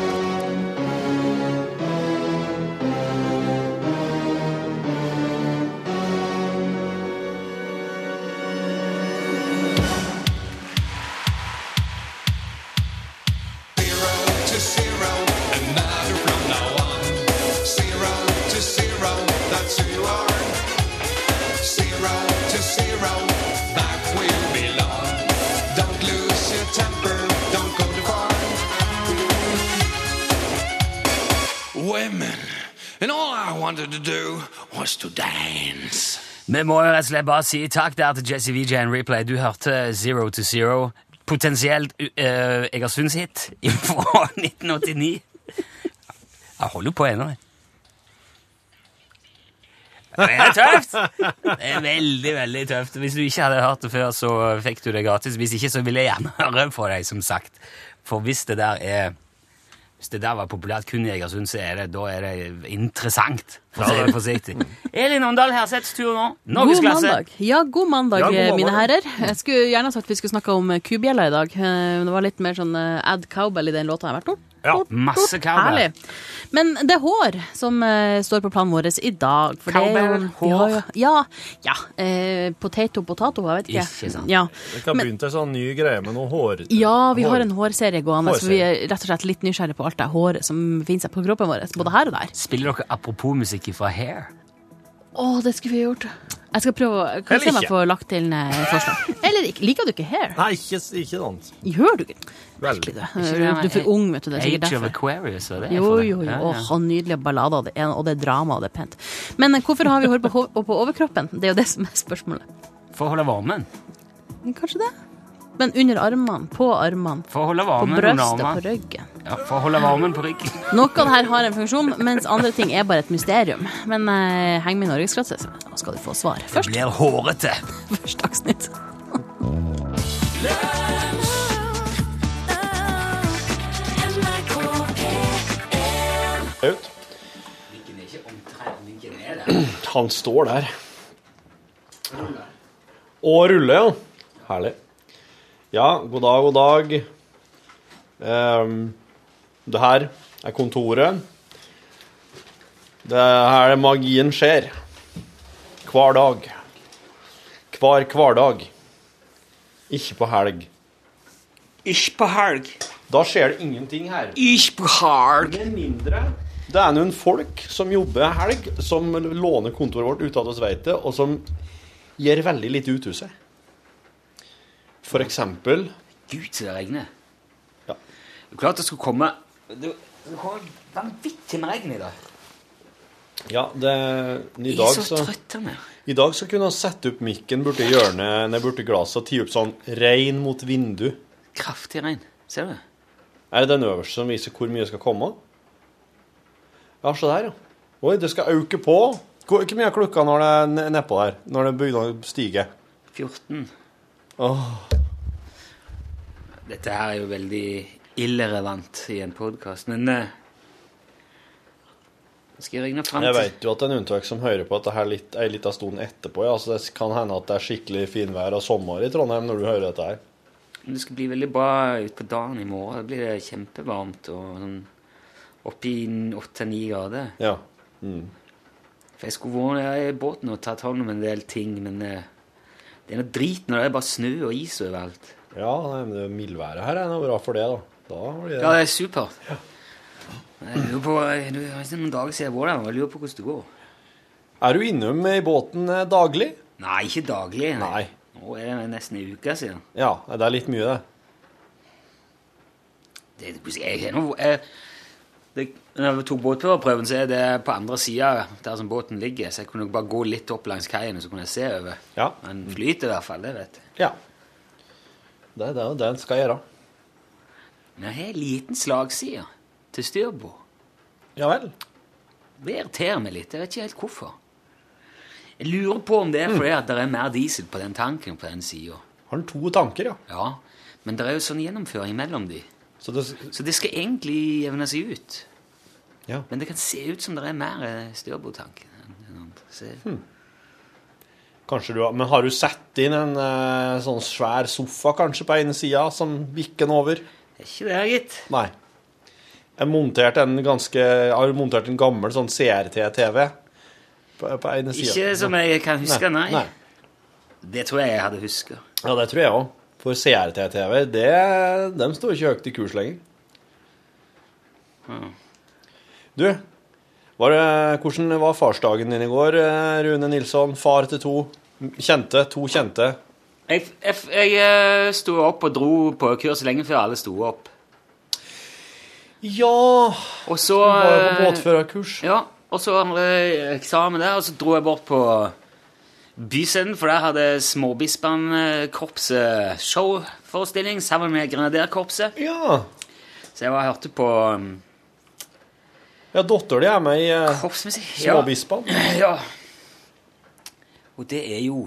Speaker 6: Women, and all I wanted to do was to dance.
Speaker 2: Vi må jo rett og slett bare si takk der til Jesse VJ and Replay. Du hørte Zero to Zero, potensielt uh, Egersundshit fra 1989. Jeg holder på ennå. jeg. Det er tøft! Det er veldig, veldig tøft. Hvis du ikke hadde hørt det før, så fikk du det gratis. Hvis ikke, så vil jeg gjerne høre fra deg, som sagt. For hvis det der er hvis det der var populært kun i Egersund, så er det, da er det interessant. For å si det forsiktig. Elin Åndal Herseths tur nå.
Speaker 7: God
Speaker 2: Norgesklasse.
Speaker 7: mandag. Ja, god
Speaker 1: Ja,
Speaker 7: mandag,
Speaker 1: god
Speaker 7: eh, mine
Speaker 1: mandag.
Speaker 7: herrer. Jeg skulle gjerne sagt vi skulle snakke om eh, kubjella i dag. eh, men Det var litt mer sånn eh, ad cowbell i den låta jeg har vært nå.
Speaker 2: Ja, masse cowbell.
Speaker 7: Herlig. Men det er hår som eh, står på planen vår i dag. for det er jo-
Speaker 2: Cowbell,
Speaker 7: vi har jo-
Speaker 2: hår.
Speaker 7: Ja. ja eh, potato, potato, jeg vet ikke.
Speaker 2: Ikke sant.
Speaker 7: Ja.
Speaker 1: Det kan begynne til en sånn ny greie med noe hår...
Speaker 7: Ja, vi
Speaker 1: hår-
Speaker 7: har en hårserie gående, så vi er rett og slett litt nysgjerrige på alt det håret som finnes på kroppen vår, både her og der.
Speaker 2: Spiller dere apropos musikk fra Hair?
Speaker 7: Å, det skulle vi gjort. Jeg skal prøve å
Speaker 1: Eller
Speaker 7: Kanskje jeg
Speaker 1: ikke.
Speaker 7: får lagt til en eh, forslag. Eller ikke. Liker du ikke hair?
Speaker 1: Nei, ikke, ikke sant.
Speaker 7: Gjør du ikke?
Speaker 1: Vel.
Speaker 7: Virkelig, du. Du er for ung, vet du. Det er sikkert
Speaker 2: Age of
Speaker 7: derfor.
Speaker 2: Aquarius, var det?
Speaker 7: Jo,
Speaker 2: for det?
Speaker 7: jo, jo.
Speaker 2: Ja, ja.
Speaker 7: Åh, og nydelige ballader, og det er- og det er drama, og det er pent. Men eh, hvorfor har vi hår på, hov- og på overkroppen? Det er jo det som er spørsmålet.
Speaker 2: For å holde varmen.
Speaker 7: Men Kanskje det? Men under armene, på armene,
Speaker 2: For å holde
Speaker 7: på
Speaker 2: varmen under
Speaker 7: brøstet, på
Speaker 2: armene.
Speaker 7: ryggen.
Speaker 2: Ja, for å holde varmen på ryggen.
Speaker 7: Noen her har en funksjon, mens andre ting er bare et mysterium. Men eh, heng med i Norgesklasse, så nå skal du få svar. Først,
Speaker 2: Blir hårete.
Speaker 7: først Dagsnytt.
Speaker 3: Lunsj,
Speaker 1: Han står der. Og ruller, ja. Herlig. Ja, god dag, god dag. Ehm, det her er kontoret. Det er her magien skjer. Hver dag. Hver hverdag. Ikke på helg.
Speaker 2: Ikke på helg.
Speaker 1: Da skjer det ingenting her.
Speaker 2: Ikke på helg.
Speaker 1: Med mindre det er noen folk som jobber helg, som låner kontoret vårt uten at vi vet det, og som gir veldig lite ut av seg. For eksempel
Speaker 2: Gud, så det regner.
Speaker 1: Ja.
Speaker 2: Det er klart det skulle komme Det, det var vanvittig med regn i dag.
Speaker 1: Ja, det, i,
Speaker 2: Jeg
Speaker 1: dag,
Speaker 2: er så
Speaker 1: så,
Speaker 2: trøtt av meg.
Speaker 1: i dag så kunne vi sette opp mikken borti hjørnet ned borti glasset og tie opp sånn 'regn mot vindu'.
Speaker 2: Kraftig regn. Ser du?
Speaker 1: Er det den øverste som viser hvor mye det skal komme? Ja, se der, ja. Oi, det skal øke på. Hvor hvor mye er klokka når det er ne- nedpå der? Når det begynner å stige?
Speaker 2: 14.
Speaker 1: Åh.
Speaker 2: Dette her er jo veldig irrelevant i en podkast, men eh, Skal jeg ringe fram
Speaker 1: Jeg
Speaker 2: til
Speaker 1: vet jo at det er en unntak som hører på dette her litt, ei lita stund etterpå. Ja. Altså, det kan hende at det er skikkelig finvær og sommer i Trondheim når du hører dette her.
Speaker 2: Det skal bli veldig bra utpå dagen i morgen. Da blir det kjempevarmt og sånn oppi åtte-ni grader.
Speaker 1: Ja.
Speaker 2: For jeg skulle vært i båten og tatt hånd om en del ting, men eh, det er noe drit når det er bare snø og is overalt.
Speaker 1: ja, nei, men det mildværet her er noe bra for det, da. Da blir
Speaker 2: Ja,
Speaker 1: det
Speaker 2: det er supert. Jeg lurer på, jeg lurer, det er noen dager siden jeg var der, og jeg lurer på hvordan det går.
Speaker 1: Er du innom i båten eh, daglig?
Speaker 2: Nei, ikke daglig.
Speaker 1: Nei.
Speaker 2: Nå er det nesten en uke siden.
Speaker 1: Ja, det er litt mye, det.
Speaker 2: Det, er- jeg, jeg, nå- jeg, det, når jeg tok båtførerprøven, så er det på andre sida der som båten ligger, så jeg kunne bare gå litt opp langs kaien, og så kunne jeg se over.
Speaker 1: Ja.
Speaker 2: Den flyter i hvert fall, det vet jeg.
Speaker 1: Ja. Det er det det en skal gjøre.
Speaker 2: Men jeg har en liten slagside til styrbord.
Speaker 1: Ja vel.
Speaker 2: Det irriterer meg litt. Jeg vet ikke helt hvorfor. Jeg lurer på om det er fordi at det er mer diesel på den tanken på den sida.
Speaker 1: Har den to tanker, ja.
Speaker 2: Ja, men det er jo sånn gjennomføring mellom de.
Speaker 1: Så det,
Speaker 2: Så det skal egentlig jevne seg ut.
Speaker 1: Ja.
Speaker 2: Men det kan se ut som det er mer eh, styrbordtanke enn den andre. Så,
Speaker 1: Hm. kanskje du har, men har du satt inn en eh, sånn svær sofa kanskje på ene sida som bikker den over?
Speaker 2: Det er ikke det, gitt.
Speaker 1: Nei. Jeg monterte en ganske Jeg har montert en gammel sånn CRT-TV på, på ene sida.
Speaker 2: Ikke som jeg kan huske, nei.
Speaker 1: nei.
Speaker 2: Det tror jeg jeg hadde huska.
Speaker 1: Ja, det tror jeg òg. For CRT-TV, det, dem står ikke høyt i kurs lenger. Du, var det, hvordan var farsdagen din i går, eh, Rune Nilsson? Far til to kjente. To kjente.
Speaker 2: Jeg, jeg, jeg eh, sto opp og dro på kurs lenge før alle sto opp.
Speaker 1: Ja
Speaker 2: Og så
Speaker 1: Du var jo på
Speaker 2: eh,
Speaker 1: båtførerkurs.
Speaker 2: Ja, og så hadde jeg eksamen der, og så dro jeg bort på Byscenen, for der hadde Småbispene-korpset showforestilling sammen med Grenaderkorpset.
Speaker 1: Ja.
Speaker 2: Så jeg var hørte på um,
Speaker 1: ja Dattera di er med i eh,
Speaker 2: korpsmusikk.
Speaker 1: Småbispene.
Speaker 2: Ja. ja. Og det er jo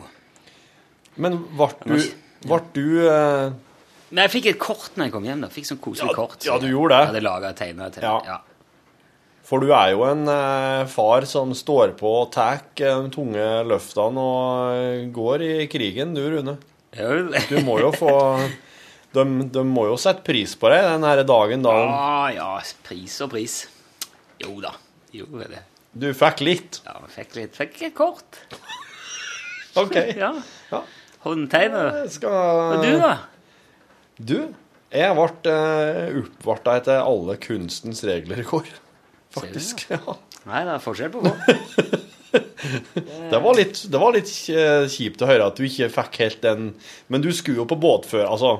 Speaker 1: Men ble du, vart du eh,
Speaker 2: Men jeg fikk et kort når jeg kom hjem. da. Fikk sånn koselig
Speaker 1: Ja,
Speaker 2: kort.
Speaker 1: ja, du gjorde det.
Speaker 2: Jeg hadde laget og tegnet til.
Speaker 1: Ja.
Speaker 2: Ja.
Speaker 1: For du er jo en eh, far som står på og tar eh, de tunge løftene og eh, går i krigen, du Rune.
Speaker 2: Ja. vel.
Speaker 1: Du må jo få de, de må jo sette pris på deg den her dagen da
Speaker 2: Ja, ja. Pris og pris. Jo da. Jo, det er det.
Speaker 1: du fikk litt.
Speaker 2: Ja, jeg fikk litt. Fikk et kort.
Speaker 1: OK.
Speaker 2: Ja.
Speaker 1: Ja.
Speaker 2: Håndtegnet.
Speaker 1: Jeg Skal
Speaker 2: Og du, da?
Speaker 1: Du, jeg ble eh, oppvarta etter alle kunstens regler i går.
Speaker 2: Ser du
Speaker 1: Faktisk. Ja.
Speaker 2: Nei, det er forskjell på folk.
Speaker 1: Det var litt, det var litt eh, kjipt å høre at du ikke fikk helt den Men du skulle jo på båtfør... Altså,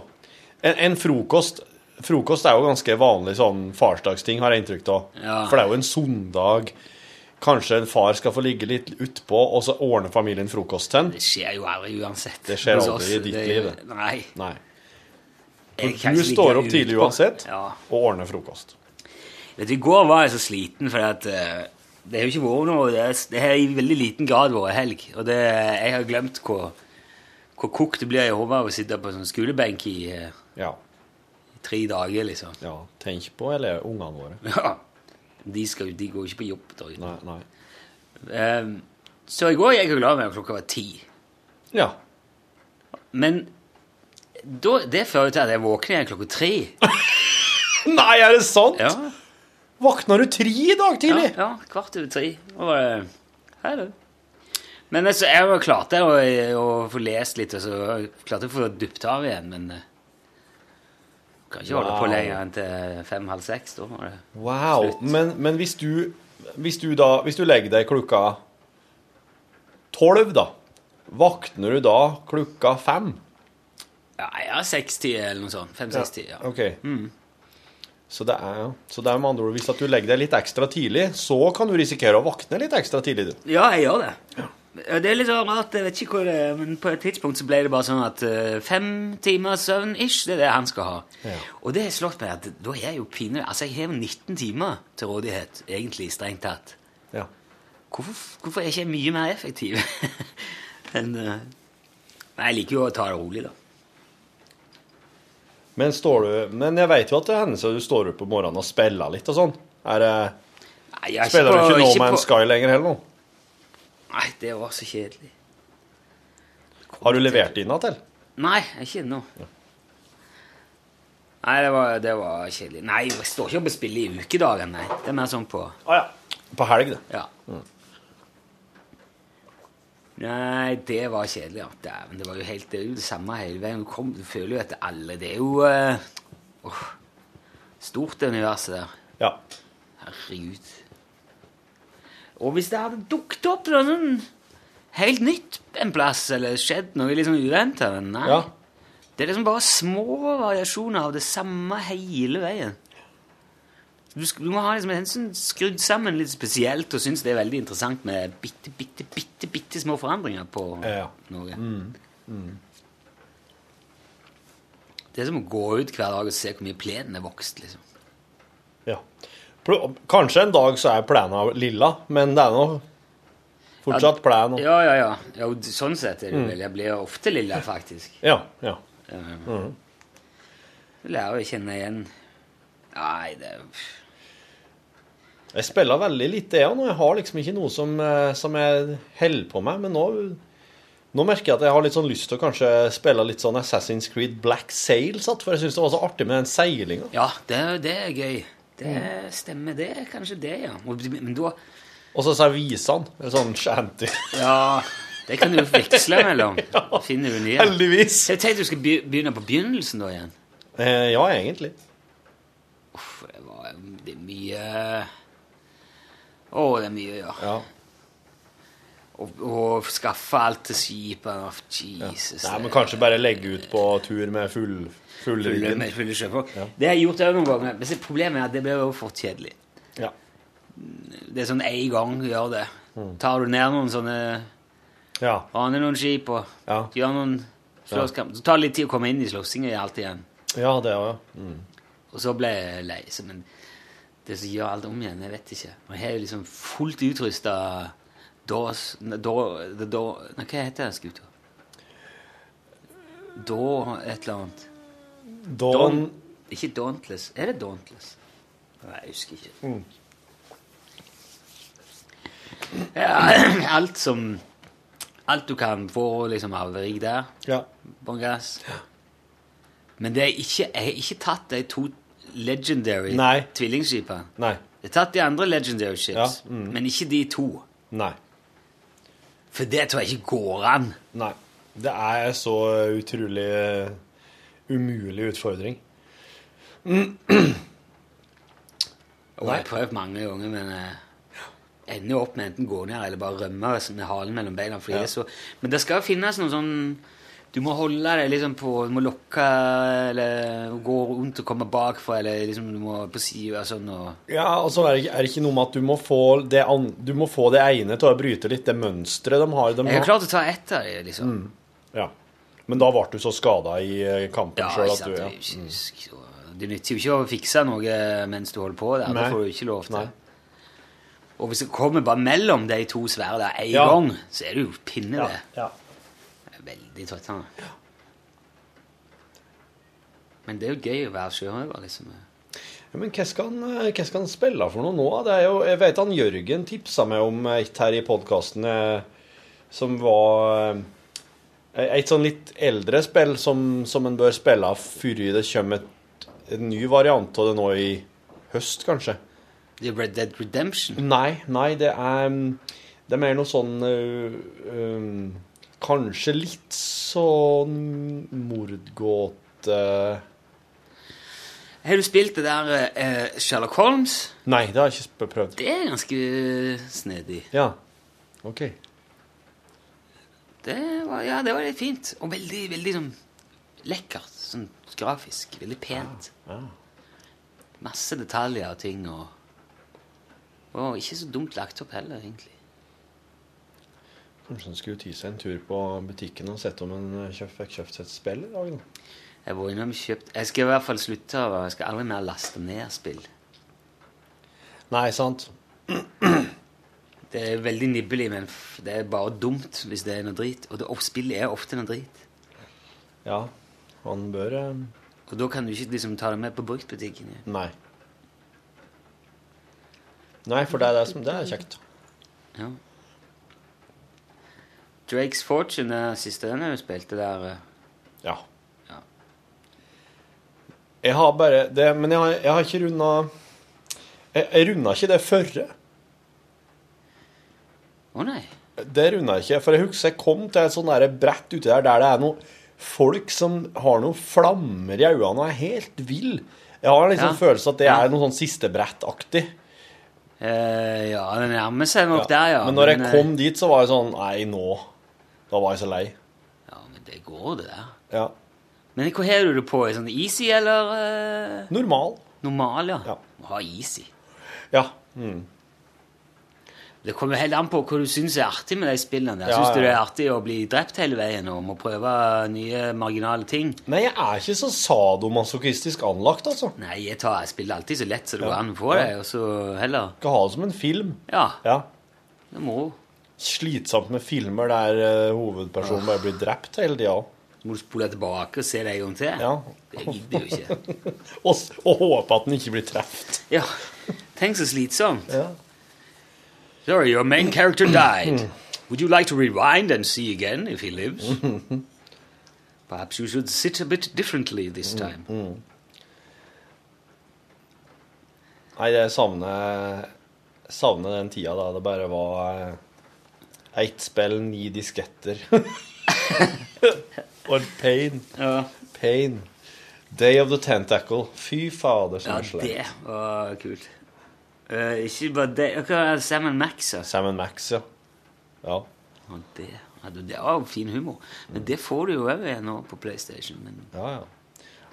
Speaker 1: en, en frokost Frokost er jo ganske vanlig sånn farsdagsting, har jeg inntrykk av.
Speaker 2: Ja.
Speaker 1: For det er jo en søndag. Kanskje en far skal få ligge litt utpå, og så ordner familien frokost til
Speaker 2: Det
Speaker 1: han.
Speaker 2: skjer jo aldri uansett.
Speaker 1: Det skjer
Speaker 2: Hos
Speaker 1: aldri
Speaker 2: oss,
Speaker 1: i ditt
Speaker 2: det er jo-
Speaker 1: liv, det.
Speaker 2: Nei.
Speaker 1: Nei.
Speaker 2: jeg kan
Speaker 1: Du
Speaker 2: ikke ligge
Speaker 1: står opp
Speaker 2: ut
Speaker 1: tidlig
Speaker 2: på-
Speaker 1: uansett
Speaker 2: Ja.
Speaker 1: og ordner frokost.
Speaker 2: Vet du, I går var jeg så sliten, for at, eh, det har jo ikke vært noe Det, er- det har i veldig liten grad vært helg. Og det, jeg har glemt hvor, hvor kokt det blir i hodet av å sitte på sånn skolebenk i eh,
Speaker 1: Ja.
Speaker 2: tre dager, liksom.
Speaker 1: ja. Tenk på eller ungene våre.
Speaker 2: Ja. De, skal, jo- de går jo ikke på jobb. Da.
Speaker 1: Nei, nei.
Speaker 2: Ehm, så i går gikk jeg og la meg klokka var ti.
Speaker 1: Ja.
Speaker 2: Men da, det fører til at jeg våkner igjen klokka tre.
Speaker 1: Nei, er det sant?
Speaker 2: Ja,
Speaker 1: Våkna du tre i dag
Speaker 2: ja,
Speaker 1: tidlig?
Speaker 2: ja kvart over tre. Og bare Hei, du. Men altså, jeg var klarte å, å få lest litt, og så klarte jeg å få duppet av igjen, men eh, Kan ikke holde på
Speaker 1: Wow.
Speaker 2: lenger enn til fem-halv seks. Da var det
Speaker 1: Wow.
Speaker 2: Slutt.
Speaker 1: Men, men hvis, du, hvis du da Hvis du legger deg klokka tolv, da, våkner du da klokka fem?
Speaker 2: Ja, ja, 60 eller noe sånt. 5-60, ja. Mm.
Speaker 1: OK. Så, det er, så det er med andre ord Hvis at du legger deg litt ekstra tidlig, så kan du risikere å våkne litt ekstra tidlig, du.
Speaker 2: Ja, jeg gjør det. Ja, Det er litt sånn rart, jeg vet ikke hvor det er, men på et tidspunkt så ble det bare sånn at eh, fem timer søvn ish, det er det han skal ha. Og det har slått meg at da er jeg jo pinlig. Altså, jeg har jo 19 timer til rådighet, egentlig, strengt tatt.
Speaker 1: Ja.
Speaker 2: Hvorfor, hvorfor er ikke jeg mye mer effektiv enn eh, Nei, jeg liker jo å ta det rolig, da.
Speaker 1: Men, står du, men jeg vet jo at det hender seg du står opp om morgenen og spiller litt og sånn. Er det,
Speaker 2: Nei, jeg er
Speaker 1: spiller du ikke No
Speaker 2: på-
Speaker 1: Man's Sky lenger heller nå?
Speaker 2: Nei, det var så kjedelig.
Speaker 1: Har du levert inn til?
Speaker 2: Nei, ikke ennå. Nei, det var, det var kjedelig. Nei, jeg står ikke opp og spiller i ukedagen, nei. Det er mer sånn på
Speaker 1: Å ja. På helg, det.
Speaker 2: Ja. Nei, det var kjedelig, ja. Dæven, det var jo helt det, er jo det samme hele veien. Du, kom, du føler jo etter alle Det er jo eh, åh, Stort, det universet der.
Speaker 1: Ja.
Speaker 2: Herregud. Og hvis det hadde dukket opp noe sånn helt nytt en plass, eller skjedd noe liksom uventa Nei.
Speaker 1: Ja.
Speaker 2: Det er liksom bare små variasjoner av det samme hele veien. Du, sk- du må ha liksom en som skrudd sammen litt spesielt og syns det er veldig interessant med bitte, bitte, bitte bitte små forandringer på
Speaker 1: Ja. Mm,
Speaker 2: noe. Det er som å gå ut hver dag og se hvor mye plenen er vokst. liksom.
Speaker 1: ja. Pl- Kanskje en dag så er plena lilla, men det er nå fortsatt Mm. plen. og-
Speaker 2: Ja, ja, ja. ja og sånn sett er det vel. Jeg blir ofte lilla, faktisk.
Speaker 1: Ja. ja.
Speaker 2: Du lærer å kjenne igjen Nei, det er
Speaker 1: Jeg spiller veldig lite, jeg òg. Jeg har liksom ikke noe som, eh, som jeg holder på med. Men nå, nå merker jeg at jeg har litt sånn lyst til å kanskje spille litt sånn Assassin's Creed Black Sail, satt, for jeg syns det var så artig med den seilinga.
Speaker 2: Ja, det, det er gøy. Det
Speaker 1: Mm.
Speaker 2: stemmer, det. er Kanskje det, ja. Og- Men da
Speaker 1: Og så servisene. en Sånn shanty.
Speaker 2: Ja, det kan du veksle mellom. Finner du nye.
Speaker 1: Heldigvis.
Speaker 2: Jeg tenkte du skulle be- begynne på begynnelsen da igjen.
Speaker 1: Eh, ja, egentlig.
Speaker 2: Uff, det, var, det er mye Å, det er mye, ja.
Speaker 1: Ja.
Speaker 2: Og, og skaffe alt til skipet. Å, Jesus.
Speaker 1: Nei, men
Speaker 2: det-
Speaker 1: kanskje bare legge ut på tur med full, full
Speaker 2: Fulle,
Speaker 1: ryggen.
Speaker 2: med fulle sjøfolk. Det har jeg gjort også noen ganger. Men så problemet er at det blir jo fort kjedelig.
Speaker 1: Ja.
Speaker 2: Det er sånn én gang du gjør det.
Speaker 1: Mm.
Speaker 2: Tar du ned noen sånne
Speaker 1: Ja.
Speaker 2: Aner noen skip og
Speaker 1: Ja.
Speaker 2: gjør noen slåsskamp. Så tar det litt tid å komme inn i slåssinga alt igjen.
Speaker 1: ja, det òg, ja.
Speaker 2: Og så ble jeg lei. Så, men det som gjør alt om igjen, jeg vet ikke. Og jeg har jo liksom fullt utrusta Dawes ne, Daw- The Daw- Nei, hva heter den skuta? Da et eller annet.
Speaker 1: Dawn
Speaker 2: Ikke Dauntless. Er det Dauntless? Nei, jeg husker ikke.
Speaker 1: Mm.
Speaker 2: Ja, alt som Alt du kan få liksom av rigg der.
Speaker 1: Ja.
Speaker 2: Bånn gass. Men det er ikke, jeg har ikke tatt de to legendary
Speaker 1: Nei.
Speaker 2: tvillingskipene.
Speaker 1: Nei.
Speaker 2: Jeg har tatt de andre legendary ships,
Speaker 1: Ja, mm.
Speaker 2: men ikke de to.
Speaker 1: Nei.
Speaker 2: For det tror jeg ikke går an.
Speaker 1: Nei. Det er så utrolig eh, umulig utfordring.
Speaker 2: Og jeg har prøvd mange ganger, men jeg ender jo opp med enten gå ned eller bare rømme med halen mellom beina.
Speaker 1: Ja.
Speaker 2: Fordi det er så, men det skal jo finnes noe sånn Du må holde deg liksom på Du må lokke eller gå rundt og komme bakfra, eller liksom du må på sida sånn og
Speaker 1: Ja, altså er det, ikke, er det ikke noe med at du må få det, an, du må få det ene til å bryte litt det mønsteret de har? De
Speaker 2: Jeg har
Speaker 1: har.
Speaker 2: klart å ta ett av dem, liksom.
Speaker 1: Mm. Ja. Men da ble du så skada i eh, kampen
Speaker 2: Ja,
Speaker 1: sjøl
Speaker 2: ikke
Speaker 1: at
Speaker 2: sant.
Speaker 1: du
Speaker 2: Det,
Speaker 1: ja.
Speaker 2: er jo ikke- så- det nytter jo ikke å fikse noe eh, mens du holder på der.
Speaker 1: Nei.
Speaker 2: Det får du ikke lov til.
Speaker 1: Nei.
Speaker 2: Og hvis det kommer bare mellom de to svære der én
Speaker 1: Ja.
Speaker 2: gang, så er det jo pinne,
Speaker 1: Ja,
Speaker 2: det.
Speaker 1: ja.
Speaker 2: Det er Veldig trøttende. Men det er jo gøy å være sjørøver, liksom.
Speaker 1: Ja, men hva skal, han, eh, hva skal han spille for noe nå? da? Det er jo, jeg vet han Jørgen tipsa meg om et her i podkasten som var eh, et sånn litt eldre spill som, som en bør spille før det kommer et, en ny variant av det nå i høst, kanskje.
Speaker 2: Det er Red Dead Redemption.
Speaker 1: Nei, nei, det er Det er mer noe sånn ø, ø, Kanskje litt sånn mordgåte
Speaker 2: Har du spilt det der eh, Sherlock Holmes?
Speaker 1: Nei, det har jeg ikke sp- prøvd.
Speaker 2: Det er ganske snedig.
Speaker 1: Ja, OK.
Speaker 2: Det var, ja, det var litt fint. Og veldig, veldig sånn lekkert. Sånn grafisk. Veldig pent. Masse detaljer og ting og Og ikke så dumt lagt opp heller, egentlig.
Speaker 1: Kanskje han skulle ti seg en tur på butikken og sett om han ø, kjøpt- fikk kjøpt seg et spill i dag. da.
Speaker 2: Jeg må innrømme kjøpt Jeg skal i hvert fall slutte å Jeg skal aldri mer laste ned spill.
Speaker 1: Nei, sant?
Speaker 2: Det er veldig nibbelig, men f- det er bare dumt hvis det er noe drit. Og det, og spill er ofte noe drit.
Speaker 1: Ja. Han bør ø,
Speaker 2: Og da kan du ikke liksom ta det med på bruktbutikken. igjen.
Speaker 1: Nei. Nei, for det er det som Det er kjekt.
Speaker 2: Ja. Drakes Fortune er siste den jeg spilte der. eh.
Speaker 1: Ja.
Speaker 2: Ja.
Speaker 1: Jeg har bare det, Men jeg har, jeg har ikke runda Jeg, jeg runda ikke det førre.
Speaker 2: Å nei.
Speaker 1: Det runda jeg ikke. For jeg husker jeg kom til et sånt der brett uti der der det er noen folk som har noen flammer i øynene og er helt vill. Jeg har liksom
Speaker 2: Ja.
Speaker 1: følelsen at det
Speaker 2: Ja.
Speaker 1: er noe sånn sistebrettaktig.
Speaker 2: Eh, ja, det nærmer seg nok
Speaker 1: Ja.
Speaker 2: der, ja.
Speaker 1: Men når jeg
Speaker 2: eh,
Speaker 1: kom dit, så var jeg sånn Nei, nå. Da var jeg så lei.
Speaker 2: Ja, men det går, det der.
Speaker 1: Ja.
Speaker 2: Men hva har du det på? Sånn easy eller eh,
Speaker 1: Normal.
Speaker 2: normal, ja?
Speaker 1: Ja.
Speaker 2: Må Ha easy.
Speaker 1: Ja. Mm.
Speaker 2: Det kommer helt an på hva du syns er artig med de spillene. der.
Speaker 1: Ja,
Speaker 2: Syns du
Speaker 1: ja.
Speaker 2: det er artig å bli drept hele veien og må prøve nye marginale ting?
Speaker 1: Nei, jeg er ikke så sadomasochistisk anlagt, altså.
Speaker 2: Nei, jeg, tar, jeg spiller alltid så lett som
Speaker 1: Ja.
Speaker 2: det går an på det, og så heller
Speaker 1: Skal ha det som en film.
Speaker 2: Ja,
Speaker 1: Ja.
Speaker 2: det må
Speaker 1: slitsomt med filmer der eh, hovedpersonen bare blir drept hele tida.
Speaker 2: Så må du spole tilbake og se det en gang til.
Speaker 1: Ja.
Speaker 2: Det gidder du ikke.
Speaker 1: Og, s- og håpe at den ikke blir truffet.
Speaker 2: Ja, tenk så slitsomt.
Speaker 1: Ja.
Speaker 2: Sorry, your main character died. Would you like to rewind and see again if he lives? Perhaps you should sit a bit differently this
Speaker 1: Mm,
Speaker 2: time.
Speaker 1: Nei, jeg savner, savner den tida da det bare var eh, ett spill, ni disketter. Og pain.
Speaker 2: Ja.
Speaker 1: Pain. Day of the Tentacle. Fy fader, som
Speaker 2: Ja,
Speaker 1: er slem.
Speaker 2: det var kult. Eh, ikke bare det Hva er Sam Max, altså?
Speaker 1: Sam Max, ja. ja.
Speaker 2: Og det, ja, du, det var jo fin humor.
Speaker 1: Mm.
Speaker 2: Men det får du jo òg igjen nå på PlayStation. Men
Speaker 1: Ja, ja.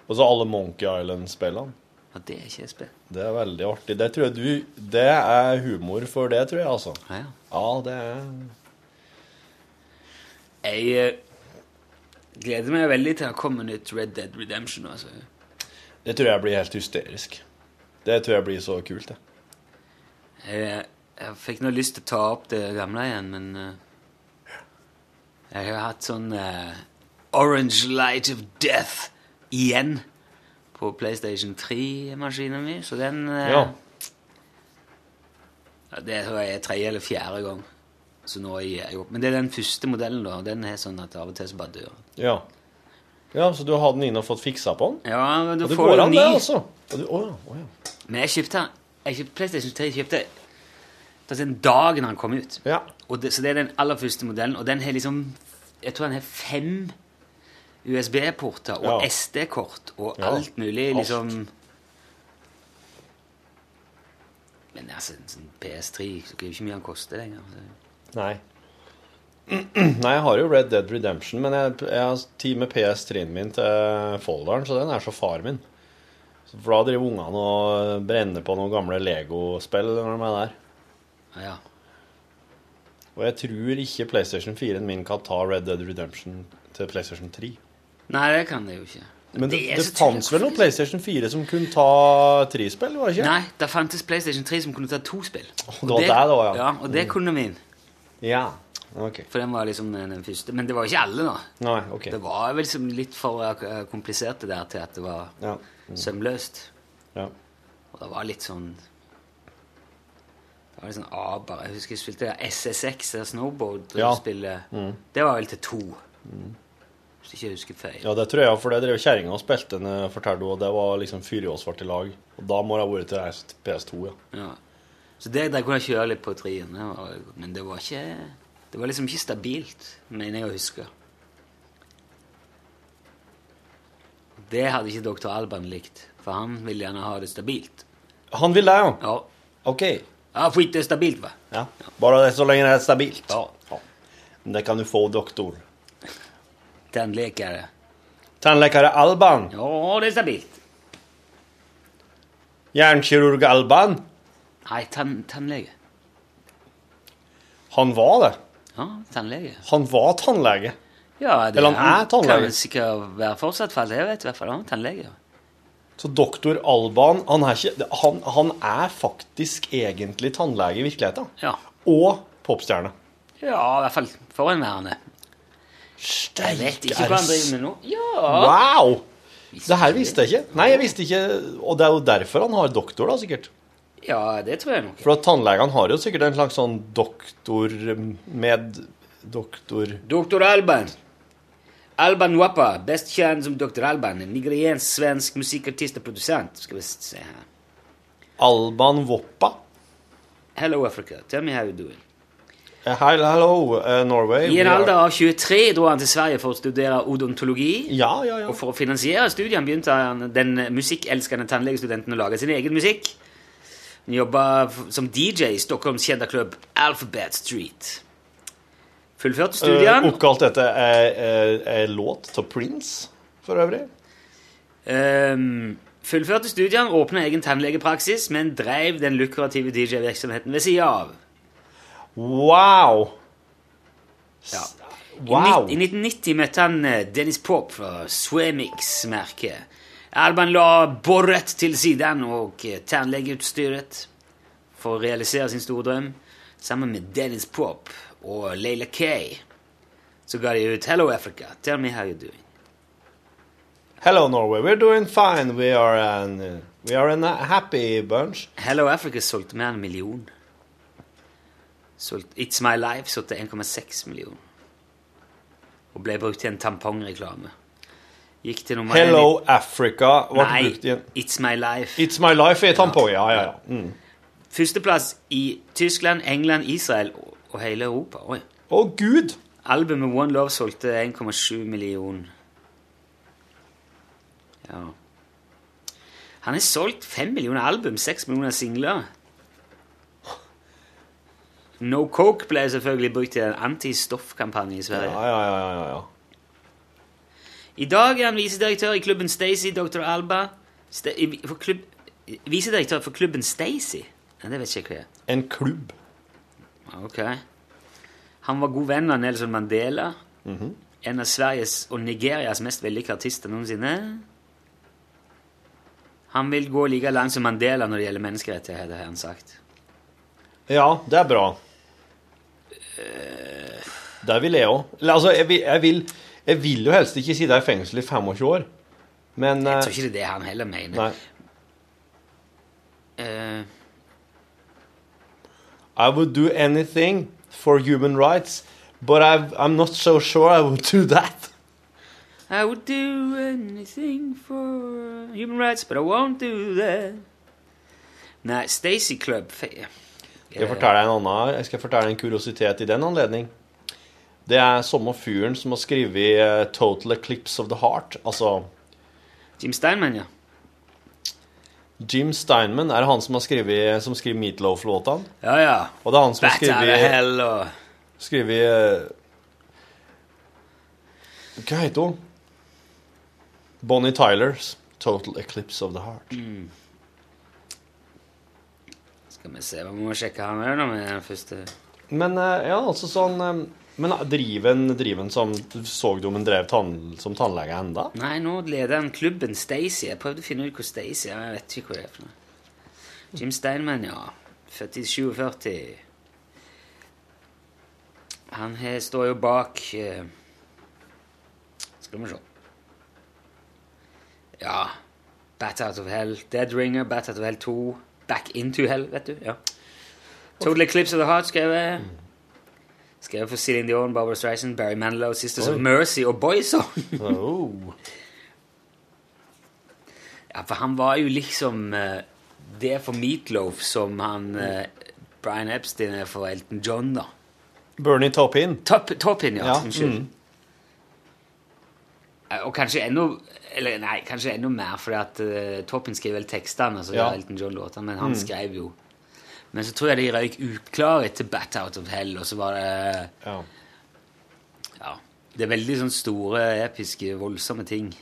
Speaker 1: Og så alle Monkey Island-spillene.
Speaker 2: ja, det er ikke et spill.
Speaker 1: Det er veldig artig. Det tror jeg du Det er humor for det, tror jeg, altså.
Speaker 2: Ja, ja.
Speaker 1: Ja, det er
Speaker 2: Jeg eh, gleder meg veldig til å komme nytt Red Dead Redemption. altså.
Speaker 1: Det tror jeg blir helt hysterisk. Det tror jeg blir så kult, det.
Speaker 2: Jeg, jeg fikk nå lyst til å ta opp det gamle igjen, men eh, Jeg har hatt sånn eh, Orange Light of Death igjen på PlayStation 3-maskinen min, så den eh,
Speaker 1: Ja.
Speaker 2: Ja, det tror jeg er tredje eller fjerde gang. Så nå gir jeg opp. Men det er den første modellen, da. og Den er sånn at av og til så bare dør den.
Speaker 1: Ja, ja så du har den inne og fått fiksa på den?
Speaker 2: Ja, men da
Speaker 1: Og det
Speaker 2: får
Speaker 1: går
Speaker 2: du
Speaker 1: an,
Speaker 2: ny.
Speaker 1: det, altså. Og du- Å ja. å ja.
Speaker 2: Men jeg kjøpte den. Jeg kjøpte PlayStation 3 kjøpte altså den dagen han kom ut.
Speaker 1: Ja.
Speaker 2: Og det, så det er den aller første modellen, og den har liksom Jeg tror den har fem USB-porter og
Speaker 1: Ja.
Speaker 2: SD-kort og
Speaker 1: Ja.
Speaker 2: alt mulig,
Speaker 1: Alt.
Speaker 2: liksom Men altså, en sånn PS3 så er jo ikke mye han koster lenger. så-
Speaker 1: Nei. Nei, jeg har jo Red Dead Redemption, men jeg, jeg har tid med PS3-en min til folderen, så den er så far min. Så- For da driver ungene og brenner på noen gamle Lego-spill når de er der.
Speaker 2: Ja, ja.
Speaker 1: Og jeg tror ikke PlayStation 4-en min kan ta Red Dead Redemption til PlayStation 3.
Speaker 2: Nei, det kan jeg jo ikke.
Speaker 1: Men det,
Speaker 2: er
Speaker 1: det,
Speaker 2: så
Speaker 1: fantes
Speaker 2: tydelig.
Speaker 1: vel noen PlayStation 4 som kunne ta trispill, var det ikke?
Speaker 2: Nei, det fantes PlayStation 3 som kunne ta to spill.
Speaker 1: det var der det var, ja. Mm.
Speaker 2: ja. Og det kunne min,
Speaker 1: Ja. Ok.
Speaker 2: for den var liksom den den første. Men det var ikke alle, da.
Speaker 1: Nei, ok.
Speaker 2: Det var vel som litt for eh, komplisert det der til at det var
Speaker 1: Mm. Ja.
Speaker 2: sømløst.
Speaker 1: ja.
Speaker 2: Og det var litt sånn Det var litt sånn aber. Jeg husker jeg spilte det der SSX, der snowboard. og
Speaker 8: Ja.
Speaker 2: spille-
Speaker 1: Mm.
Speaker 2: Det var vel til to. Hvis ikke jeg husker feil.
Speaker 8: Ja, det tror jeg, for det drev kjerringa og spilte den, eh, forteller hun, og det var liksom fyr i oss var til lag. Og da må det ha vært til reise til PS2, ja.
Speaker 2: Ja. Så det, der kunne jeg kjøre litt på trien. det var- Men det var ikke Det var liksom ikke stabilt, mener jeg å huske. Det hadde ikke doktor Alban likt, for han ville gjerne ha det stabilt.
Speaker 8: Han vil det, ja.
Speaker 2: Ja,
Speaker 8: Ok.
Speaker 2: ja fint, det er stabilt, hva?
Speaker 8: Ja. Bare det så lenge det er stabilt.
Speaker 2: Ja.
Speaker 8: Men det kan du få, doktor.
Speaker 2: Tannlekere.
Speaker 8: Tannlekare Alban.
Speaker 2: Ja, det er stabilt.
Speaker 8: Jernkirurg Alban.
Speaker 2: Nei, tann, tannlege.
Speaker 8: Han var det.
Speaker 2: Ja, tannlege.
Speaker 8: Han var tannlege.
Speaker 2: Ja, det
Speaker 8: Eller han er tannlege.
Speaker 2: Kan sikkert være fortsatt, for alt jeg vet. I hvert fall han er tannlege.
Speaker 8: Så doktor Alban, han er, ikke, han, han er faktisk egentlig tannlege i virkeligheten.
Speaker 2: Ja.
Speaker 8: Og popstjerne.
Speaker 2: ja, i hvert fall forhenværende. Jeg vet ikke hva han driver med nå. Ja,
Speaker 8: Wow! Det her visste jeg ikke. Nei, jeg visste ikke, og det er jo derfor han har doktor, da, sikkert.
Speaker 2: Ja, det tror jeg nok.
Speaker 8: For at tannlegene har jo sikkert en slags sånn doktor med doktor...
Speaker 2: Dr. Alban. Alban Wappa, best kjent som Dr. Alban. En nigeriensk-svensk musikkartist og produsent. Skal vi se her.
Speaker 8: Alban Woppa.
Speaker 2: Hello, Africa. Tell me how you're doing.
Speaker 8: Eh, Hei, hello, eh, Norway.
Speaker 2: I en
Speaker 8: We are-
Speaker 2: alder av 23 dro han til Sverige for å studere odontologi.
Speaker 8: Ja, ja, ja.
Speaker 2: Og for å finansiere studien begynte han, den musikkelskende tannlegestudenten å lage sin egen musikk. Han jobba f- som DJ i Stockholms kjente klubb Alphabet Street. Fullførte
Speaker 8: Eh,
Speaker 2: studien.
Speaker 8: oppkalt etter ei låt av Prince, for øvrig.
Speaker 2: Ehm, fullførte studiene, åpnet egen tannlegepraksis, men drev den lukrative DJ-virksomheten ved siden av.
Speaker 8: Wow!
Speaker 2: Ja.
Speaker 8: Wow!
Speaker 2: I, nitt- I 1990 møtte han eh, Dennis Pop fra Swemix-merket. Alban la borret til siden og eh, tannlegeutstyret for å realisere sin store drøm. Sammen med Dennis Pop og Leila Kay så ga de ut Hello Africa, tell me how you doing.
Speaker 8: Hello, Norway. We're doing fine. We are an uh, we are an uh, happy bunch.
Speaker 2: Hello Africa solgte mer enn en million. Solgt It's My Life solgte 1,6 million. Og ble brukt til en tampongreklame. Gikk til nummer
Speaker 8: Hello, Africa.
Speaker 2: en i-
Speaker 8: Ble brukt i
Speaker 2: Nei,
Speaker 8: en
Speaker 2: It's My Life.
Speaker 8: It's My Life i tampong. Ja, ja, ja. Mm.
Speaker 2: Førsteplass i Tyskland, England, Israel og- og hele Europa. Oi.
Speaker 8: Å, gud!
Speaker 2: Albumet One Love solgte 1,7 million. Ja. Han har solgt 5 millioner album, 6 millioner singler. No Coke ble selvfølgelig brukt til en antistoffkampanje i
Speaker 8: Ja,
Speaker 2: Sverige.
Speaker 8: ja, ja. ja, ja.
Speaker 2: I dag er han visedirektør i klubben Stacy, Dr. Alba. Sta- i- for klubb, visedirektør for klubben Stacy? Ja, det vet ikke jeg hva er.
Speaker 8: En klubb.
Speaker 2: Ok. Han var god venn av Nelson Mandela. En av Sveriges og Nigerias mest vellykkede artister noensinne. Han vil gå like langt som Mandela når det gjelder menneskerettigheter, har han sagt.
Speaker 8: Ja, det er bra. Der vil jeg òg. Eller altså, jeg vil, jeg, vil, jeg vil jo helst ikke sitte i fengsel i 25 år, men
Speaker 2: Jeg
Speaker 8: eh,
Speaker 2: tror ikke det er det han heller mener.
Speaker 8: Nei.
Speaker 2: Eh,
Speaker 8: I would do anything for human rights, but I've, I'm not so sure I would do that.
Speaker 2: I would do anything for human rights, but I won't do that. Nei, Stacy Club fe-
Speaker 8: Skal jeg fortelle deg en annen Jeg skal fortelle deg en kuriositet i den anledning. Det er samme fyren som har skrevet eh, 'Total Eclipse of the Heart'. Altså
Speaker 2: Jim Steinman, ja.
Speaker 8: Jim Steinman er han som har skrevet Som skriver Meatloaf-låtene.
Speaker 2: Ja, ja.
Speaker 8: Og det er han som har
Speaker 2: Better the
Speaker 8: skrevet
Speaker 2: hell og
Speaker 8: Skrevet eh, Hva heter hun? Bonnie Tylers 'Total Eclipse of the Heart'.
Speaker 2: Skal vi se, vi må sjekke han her nå med den første
Speaker 8: Men eh, ja, altså sånn eh, Men driven, driven som Så du om han drev tann, som tannlege enda?
Speaker 2: Nei, nå leder han klubben Stacy. Jeg prøvde å finne ut hvor Stacy er. men Jeg vet ikke hvor det er for noe. Jim Steinman, ja. Født i 47. Han her står jo bak eh, Skal vi se. Ja. Bat Out of Hell, Dead Ringer, Bat Out of Hell 2, Back Into Hell, vet du. ja. Total Eclipse of the Heart skrev jeg. Skrev for Céline Dion, Barbara Streisand, Barry Manilow, Sisters of Mercy og Boyzone. Ja, for han var jo liksom eh, det for Meatloaf som han eh, Brian Epstein er for Elton John, da.
Speaker 1: Bernie Taupin.
Speaker 2: Top, toppen, ja.
Speaker 1: Ja, Mm.
Speaker 2: Unnskyld.
Speaker 8: Mm.
Speaker 2: Eh, Og kanskje enda Eller nei, kanskje enda mer, fordi at eh, Toppin skrev vel tekstene, altså
Speaker 1: Ja. Mm.
Speaker 2: Elton John-låtene, men han skrev jo Men så tror jeg de røyk uklare etter Bat Out of Hell, og så var det
Speaker 1: Ja.
Speaker 2: Ja. Det er veldig sånn store, episke, voldsomme ting.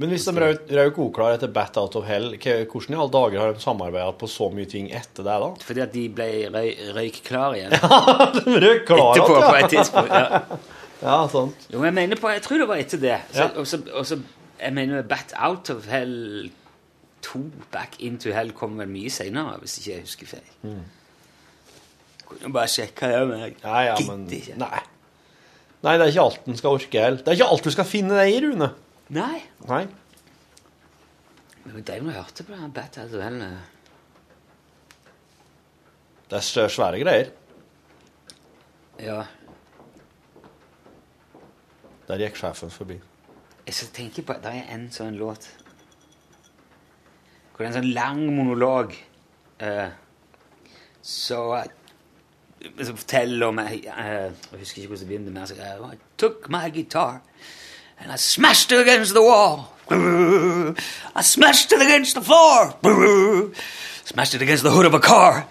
Speaker 1: Men hvis de rau- rauk oklar etter Bat Out of Hell, hva- hvordan i alle dager har de samarbeidet på så mye ting etter det, da?
Speaker 2: Fordi at de ble røy, røyk klar igjen
Speaker 1: de røk klar
Speaker 2: etterpå
Speaker 1: ja.
Speaker 2: på et tidspunkt. Ja.
Speaker 1: ja, sånn. sant.
Speaker 2: Jo, men jeg mener på Jeg tror det var etter det. Så,
Speaker 1: Ja.
Speaker 2: og så, og så, jeg mener Bat Out of Hell 2, Back Into Hell, kom vel mye senere, hvis ikke jeg husker feil. Kunne bare sjekke det, men jeg
Speaker 1: Mm. Nei, ja, men
Speaker 2: gidder ikke.
Speaker 1: Nei. Nei, det er ikke alt en skal orke heller. Det er ikke alt du skal finne deg i, Rune.
Speaker 2: Nei.
Speaker 1: Nei.
Speaker 2: Men vi drev nå og hørte på den Bat Out of Hell. eh.
Speaker 1: Det er s- svære greier.
Speaker 2: Ja.
Speaker 1: Der gikk sjefen forbi.
Speaker 2: Jeg så tenker på Det er en sånn låt Hvor det er en sånn lang monolog eh, Så eh, Som forteller om eh, eh, Jeg husker ikke hvordan det begynner men jeg sier, eh, I took my guitar And I smashed it against the wall I smashed it against the floor Smashed it against the hood of a car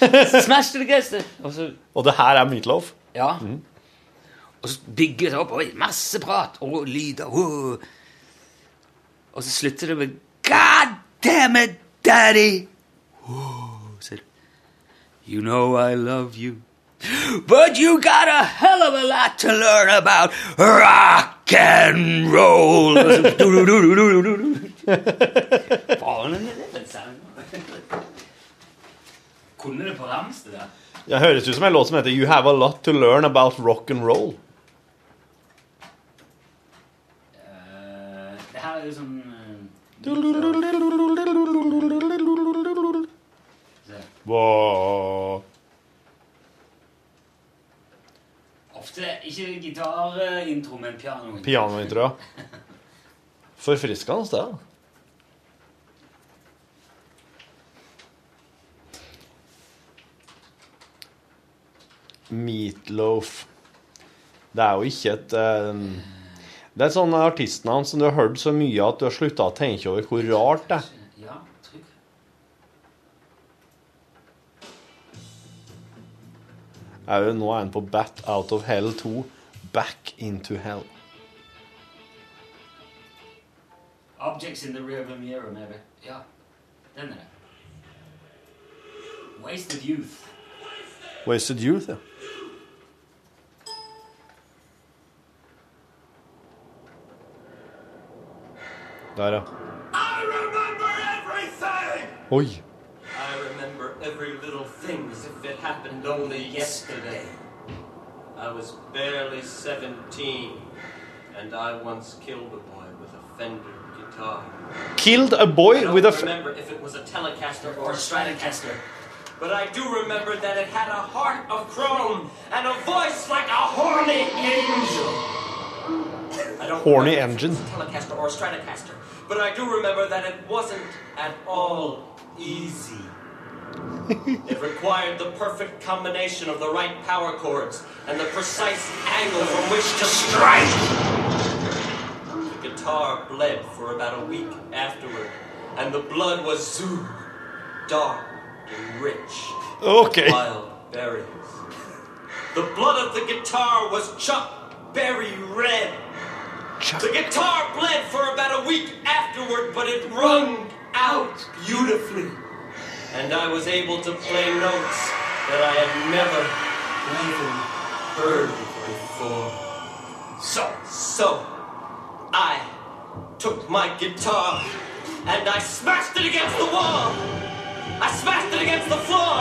Speaker 2: Smashed it against the Og så
Speaker 1: Og det her er Meatloaf.
Speaker 2: ja. Og så bygger det opp. Oi, masse prat og lyder. wow. Og så slutter det med God damn it, daddy! Wow, sier det. You know I love you. But you got a hell of a lot to learn about rock and roll! Og så- Faen, det er den sangen. Kunne det på rams, det der?
Speaker 1: Det høres ut som en låt som heter You Have A Lot To Learn About Rock and Roll.
Speaker 2: Eh, Det her er jo sånn eh,
Speaker 1: Wow.
Speaker 2: Ofte ikke gitarintro, men uh, piano.
Speaker 1: Pianointro, ja. Forfriskende sted. Meatloaf. Det er jo ikke et eh, Det er et sånt artistnavn som du har hørt så mye at du har slutta å tenke over hvor rart det er.
Speaker 2: Ja, trykk.
Speaker 1: er. jo- Nå er han på Bat Out of Hell 2. Back into hell.
Speaker 2: Objects in the rear of a mirror, maybe. Ja, den er det. Wasted youth.
Speaker 1: Wasted Youth, ja. Der, ja. Oi.
Speaker 9: I remember every little thing as if it happened only yesterday. I was barely 17, and I once killed a boy with a Fender guitar.
Speaker 1: Killed a
Speaker 9: I
Speaker 1: boy
Speaker 9: don't
Speaker 1: with a f
Speaker 9: remember if it was a Telecaster or a Stratocaster, but I do remember that it had a heart of chrome and a voice like a horny angel. I don't
Speaker 1: Horny
Speaker 9: remember if it was
Speaker 1: engine.
Speaker 9: a Telecaster or a Stratocaster, but I do remember that it wasn't at all easy. it required the perfect combination of the right power chords and the precise angle from which to strike. The guitar bled for about a week afterward, and the blood was zoo, dark and rich,
Speaker 1: Ok.
Speaker 9: wild berries. The blood of the guitar was Chuck Berry red. The guitar bled for about a week afterward, but it rung out beautifully, and I was able to play notes that I had never even heard before. So, so. I took my guitar and I smashed it against the wall. I smashed it against the floor.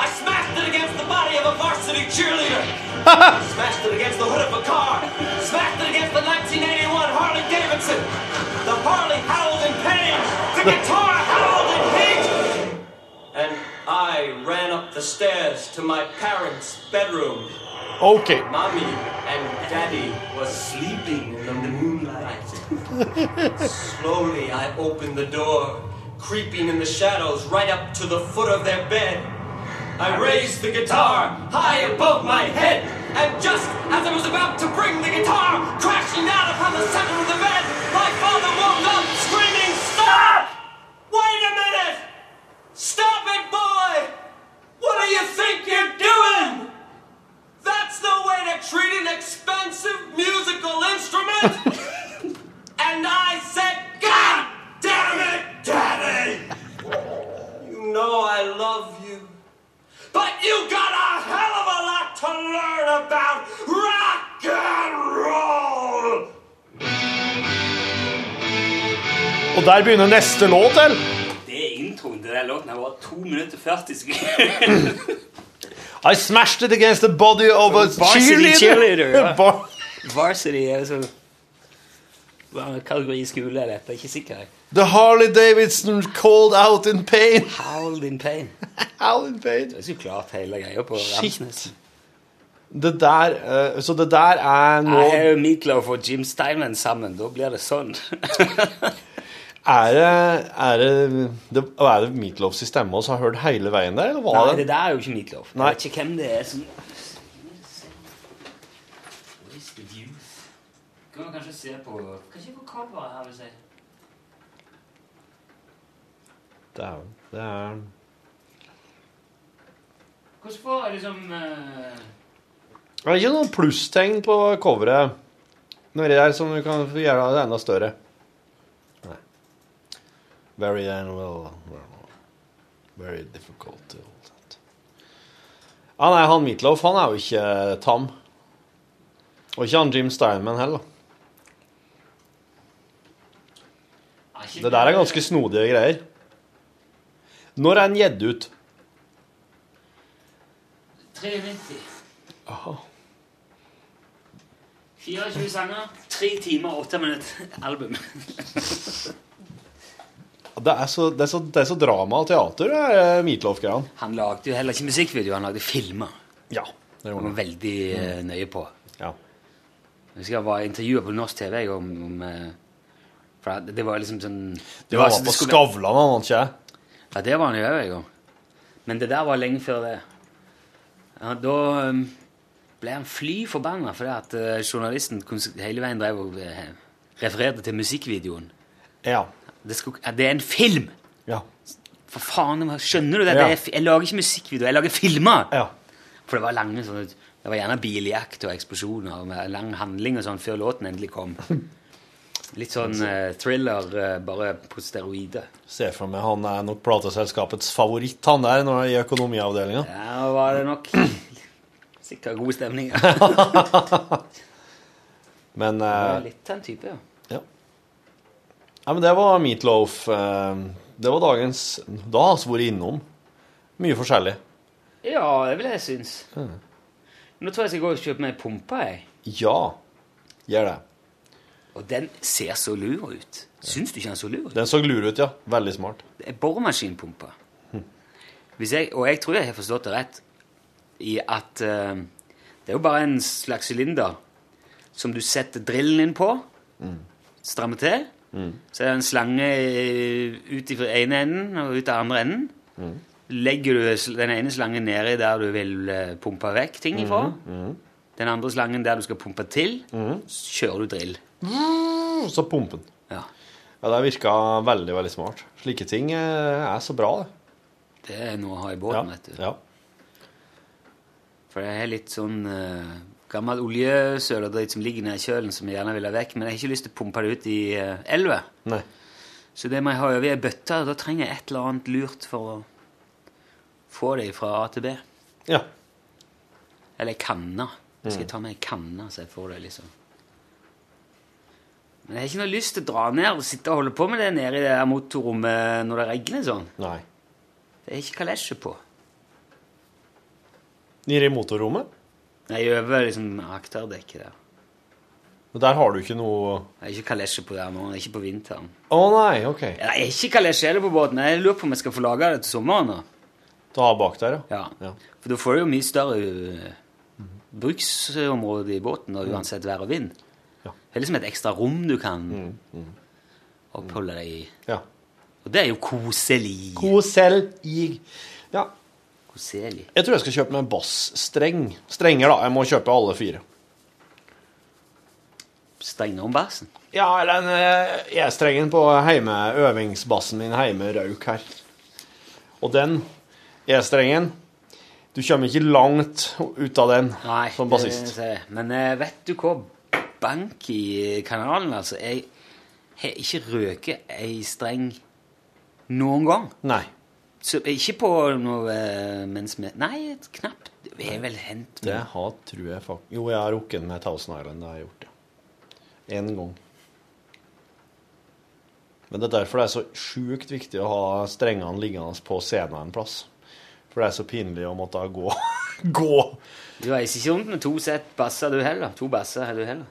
Speaker 9: I smashed it against the body of a varsity cheerleader. I smashed it against the hood of a car. Smashed it against the 1981 Harley Davidson. The Harley howled in pain. stairs to my parents' bedroom.
Speaker 8: OK.
Speaker 9: Mommy and Daddy was sleeping in the moonlight. Slowly, I opened the door, creeping in the shadows right up to the foot of their bed. I raised the guitar high above my head, and just as I was about to bring the guitar crashing down upon the center of the bed, my father woke up screaming, Stop! Wait a minute! Stop it, boy! What do you think you're doing? That's no way to treat an expensive musical instrument! and I said, God damn it, Daddy! you know I love you. But you got a hell of a lot to learn about rock and roll!
Speaker 8: Og der begynner neste låt, eller?
Speaker 2: Det er introen til den låten. Den var 2 minutter og 40 sekunder.
Speaker 8: I smashed it against the body of a
Speaker 2: Varsity
Speaker 8: cheerleader.
Speaker 2: cheerleader, ja.
Speaker 8: Bar-
Speaker 2: Varsity er sånn Hva er kategori skole er dette? Ikke sikker. jeg.
Speaker 8: The Harley Davidson called out in pain.
Speaker 2: Howled in pain.
Speaker 8: Out in pain.
Speaker 2: Det er så klart hele greia på
Speaker 8: Shit.
Speaker 2: Ramsnes.
Speaker 8: Det der, eh, så det der er nå
Speaker 2: Jeg er jo Meatloaf og Jim Steinman sammen. Da blir det sånn.
Speaker 8: Er det, er det, det, er det Meatloafs stemme vi har hørt hele veien der, eller var
Speaker 2: Nei,
Speaker 8: det
Speaker 2: det der er jo ikke Meatloaf. Jeg
Speaker 8: Nei.
Speaker 2: vet ikke hvem det er som Where's the youth? Kan man kanskje se på Kanskje på coveret her, vil jeg si.
Speaker 8: Dæven, det er
Speaker 2: Hvordan får jeg liksom eh,
Speaker 8: Det er ikke noen plusstegn på coveret nedi der som sånn, du kan få gjøre det enda større. Nei. Very animal Very difficult og alt sånt. Ja, Ah, nei, han Meatloaf, han er jo ikke eh, tam. Og ikke han Jim Steinman heller.
Speaker 2: er ikke
Speaker 8: Det der er ganske snodige greier. Når er den gitt ut?
Speaker 2: 93. 24 sanger, 3 timer og 8 minutter album.
Speaker 8: Det er så, det er så, det er så drama og teater, det er Meatloaf-greia.
Speaker 2: Han lagde jo heller ikke musikkvideo, han lagde filmer.
Speaker 8: Ja. Det
Speaker 2: Han
Speaker 8: gjorde
Speaker 2: var
Speaker 8: han.
Speaker 2: veldig eh, nøye på.
Speaker 8: Mm. Ja.
Speaker 2: Jeg husker jeg var intervjuet på norsk TV jeg, om, om eh, for det- Det var liksom sånn
Speaker 8: Det var
Speaker 2: altså,
Speaker 8: på
Speaker 2: skulle-
Speaker 8: Skavlan, han, var ikke jeg?
Speaker 2: Ja, det var han jo òg, jeg òg. Men det der var lenge før det. Ja, da um, ble han fly forbanna fordi at eh, journalisten kons- hele veien drev og eh, refererte til musikkvideoen.
Speaker 8: Ja.
Speaker 2: Det, skulle, ja, det er en film!
Speaker 8: Ja.
Speaker 2: For faen, hva- skjønner du det?
Speaker 8: Ja.
Speaker 2: det er, fi- jeg lager ikke musikkvideoer, jeg lager filmer!
Speaker 8: ja.
Speaker 2: For det var lange sånne Det var gjerne biljakt og eksplosjoner og med lang handling og sånn før låten endelig kom. Litt sånn eh, thriller, eh, bare på steroider.
Speaker 8: Ser for meg han er nok plateselskapets favoritt, han der, når, i økonomiavdelinga.
Speaker 2: Ja, var det nok sikkert god stemning.
Speaker 8: Men,
Speaker 2: Ja,
Speaker 8: eh,
Speaker 2: litt den type, ja.
Speaker 8: ja, men det var Meatloaf. Eh, det var dagens Da har vi vært innom mye forskjellig.
Speaker 2: Ja, det vil jeg synes. Nå tror jeg jeg skal gå og kjøpe meg pumpa, jeg.
Speaker 8: Ja, gjør det.
Speaker 2: Og den ser så lur ut. Syns du ikke den så lur ut?
Speaker 8: Den så lur ut, ja. Veldig smart.
Speaker 2: Det er boremaskinpumpa. Hvis jeg, og jeg tror jeg har forstått det rett i at eh, det er jo bare en slags sylinder som du setter drillen inn på, strammer til, så er det en slange eh, ut fra ene enden og ut av andre enden. Legger du sl- den ene slangen nedi der du vil eh, pumpe vekk ting ifra, den andre slangen der du skal pumpe til, så kjører du drill.
Speaker 8: Så pumpen.
Speaker 2: Ja.
Speaker 8: Ja, Det virka veldig, veldig smart. Slike ting eh, er så bra, det.
Speaker 2: Det er noe å ha i
Speaker 8: Ja.
Speaker 2: båten, vet du.
Speaker 8: ja.
Speaker 2: For jeg har litt sånn eh, gammel oljesøl og dritt som ligger nedi kjølen, som jeg gjerne vil ha vekk. Men jeg har ikke lyst til å pumpe det ut i eh, elva.
Speaker 8: Nei.
Speaker 2: Så det må jeg ha over i ei bøtte. og Da trenger jeg et eller annet lurt for å få det fra A til B.
Speaker 8: Ja.
Speaker 2: Eller ei kanne. Jeg
Speaker 8: Mm.
Speaker 2: skal ta med ei kanne, så jeg får det, liksom. Men jeg har ikke noe lyst til å dra ned og sitte og holde på med det nede i det der motorrommet når det regner sånn.
Speaker 8: Nei.
Speaker 2: Det er ikke kalesje på.
Speaker 8: Nede i motorrommet?
Speaker 2: Nei, over liksom akterdekket der.
Speaker 8: Der har du ikke noe
Speaker 2: Det er ikke kalesje på der nå. Det er ikke på vinteren.
Speaker 8: Å nei, OK.
Speaker 2: Ja, Jeg er ikke kalesje heller på båten. Jeg lurer på om jeg skal få laga det til sommeren. da.
Speaker 8: Til å ha bak der, ja.
Speaker 2: Ja. For da får du jo mye større eh, bruksområde i båten og uansett vær og vind.
Speaker 8: Mm. Ja. Mm,
Speaker 2: Det er liksom et ekstra rom du kan oppholde deg i.
Speaker 8: ja.
Speaker 2: Og det er jo koselig.
Speaker 8: God selv i Ja.
Speaker 2: Koselig.
Speaker 8: Jeg tror jeg skal kjøpe meg en bassstreng. Strenger, da. Jeg må kjøpe alle fire.
Speaker 2: Strenge om bassen.
Speaker 8: Ja, eller en eh, E-strengen på heime, øvingsbassen min heime Rauk her. Og den E-strengen Du kommer ikke langt ut av den som
Speaker 2: det-
Speaker 8: bassist.
Speaker 2: det- Men eh, vet du hva? Bank i kanalen, altså. Jeg har ikke røket ei streng noen gang.
Speaker 8: Nei.
Speaker 2: Så eh, ikke på noe eh, mens vi Nei, knapt. Det er vel hendt
Speaker 8: Det har, tror jeg faktisk Jo, jeg har rukket med Thousand Island. Det har jeg gjort, ja. Én gang. Men det er derfor det er så sjukt viktig å ha strengene liggende på scenen en plass. For det er så pinlig å måtte gå. gå!
Speaker 2: Du reiser ikke rundt med to sett basser, du heller. To basser har du heller.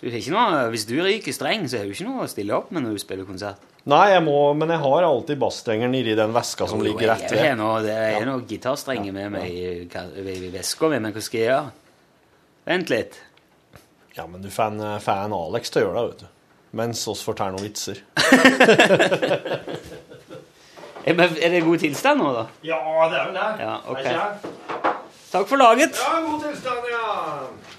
Speaker 2: Du har ikke noe, hvis du ryker streng, så har du ikke noe å stille opp med når du spiller konsert.
Speaker 8: Nei, jeg må, men jeg har alltid bassstrengeren nedi den veska som ligger rett
Speaker 2: Jeg har
Speaker 8: ved.
Speaker 2: noe, det er noe gitarstrenger med meg i, ka- i veska mi, men hva skal jeg gjøre? Vent litt.
Speaker 8: Ja, men du fan, eh, fan Alex til å gjøre det, vet du. Mens oss forteller noen vitser.
Speaker 2: Er, men er det god tilstand nå, da?
Speaker 8: Ja, det er vel det.
Speaker 2: Ja, ok. Takk for laget.
Speaker 8: god tilstand, ja.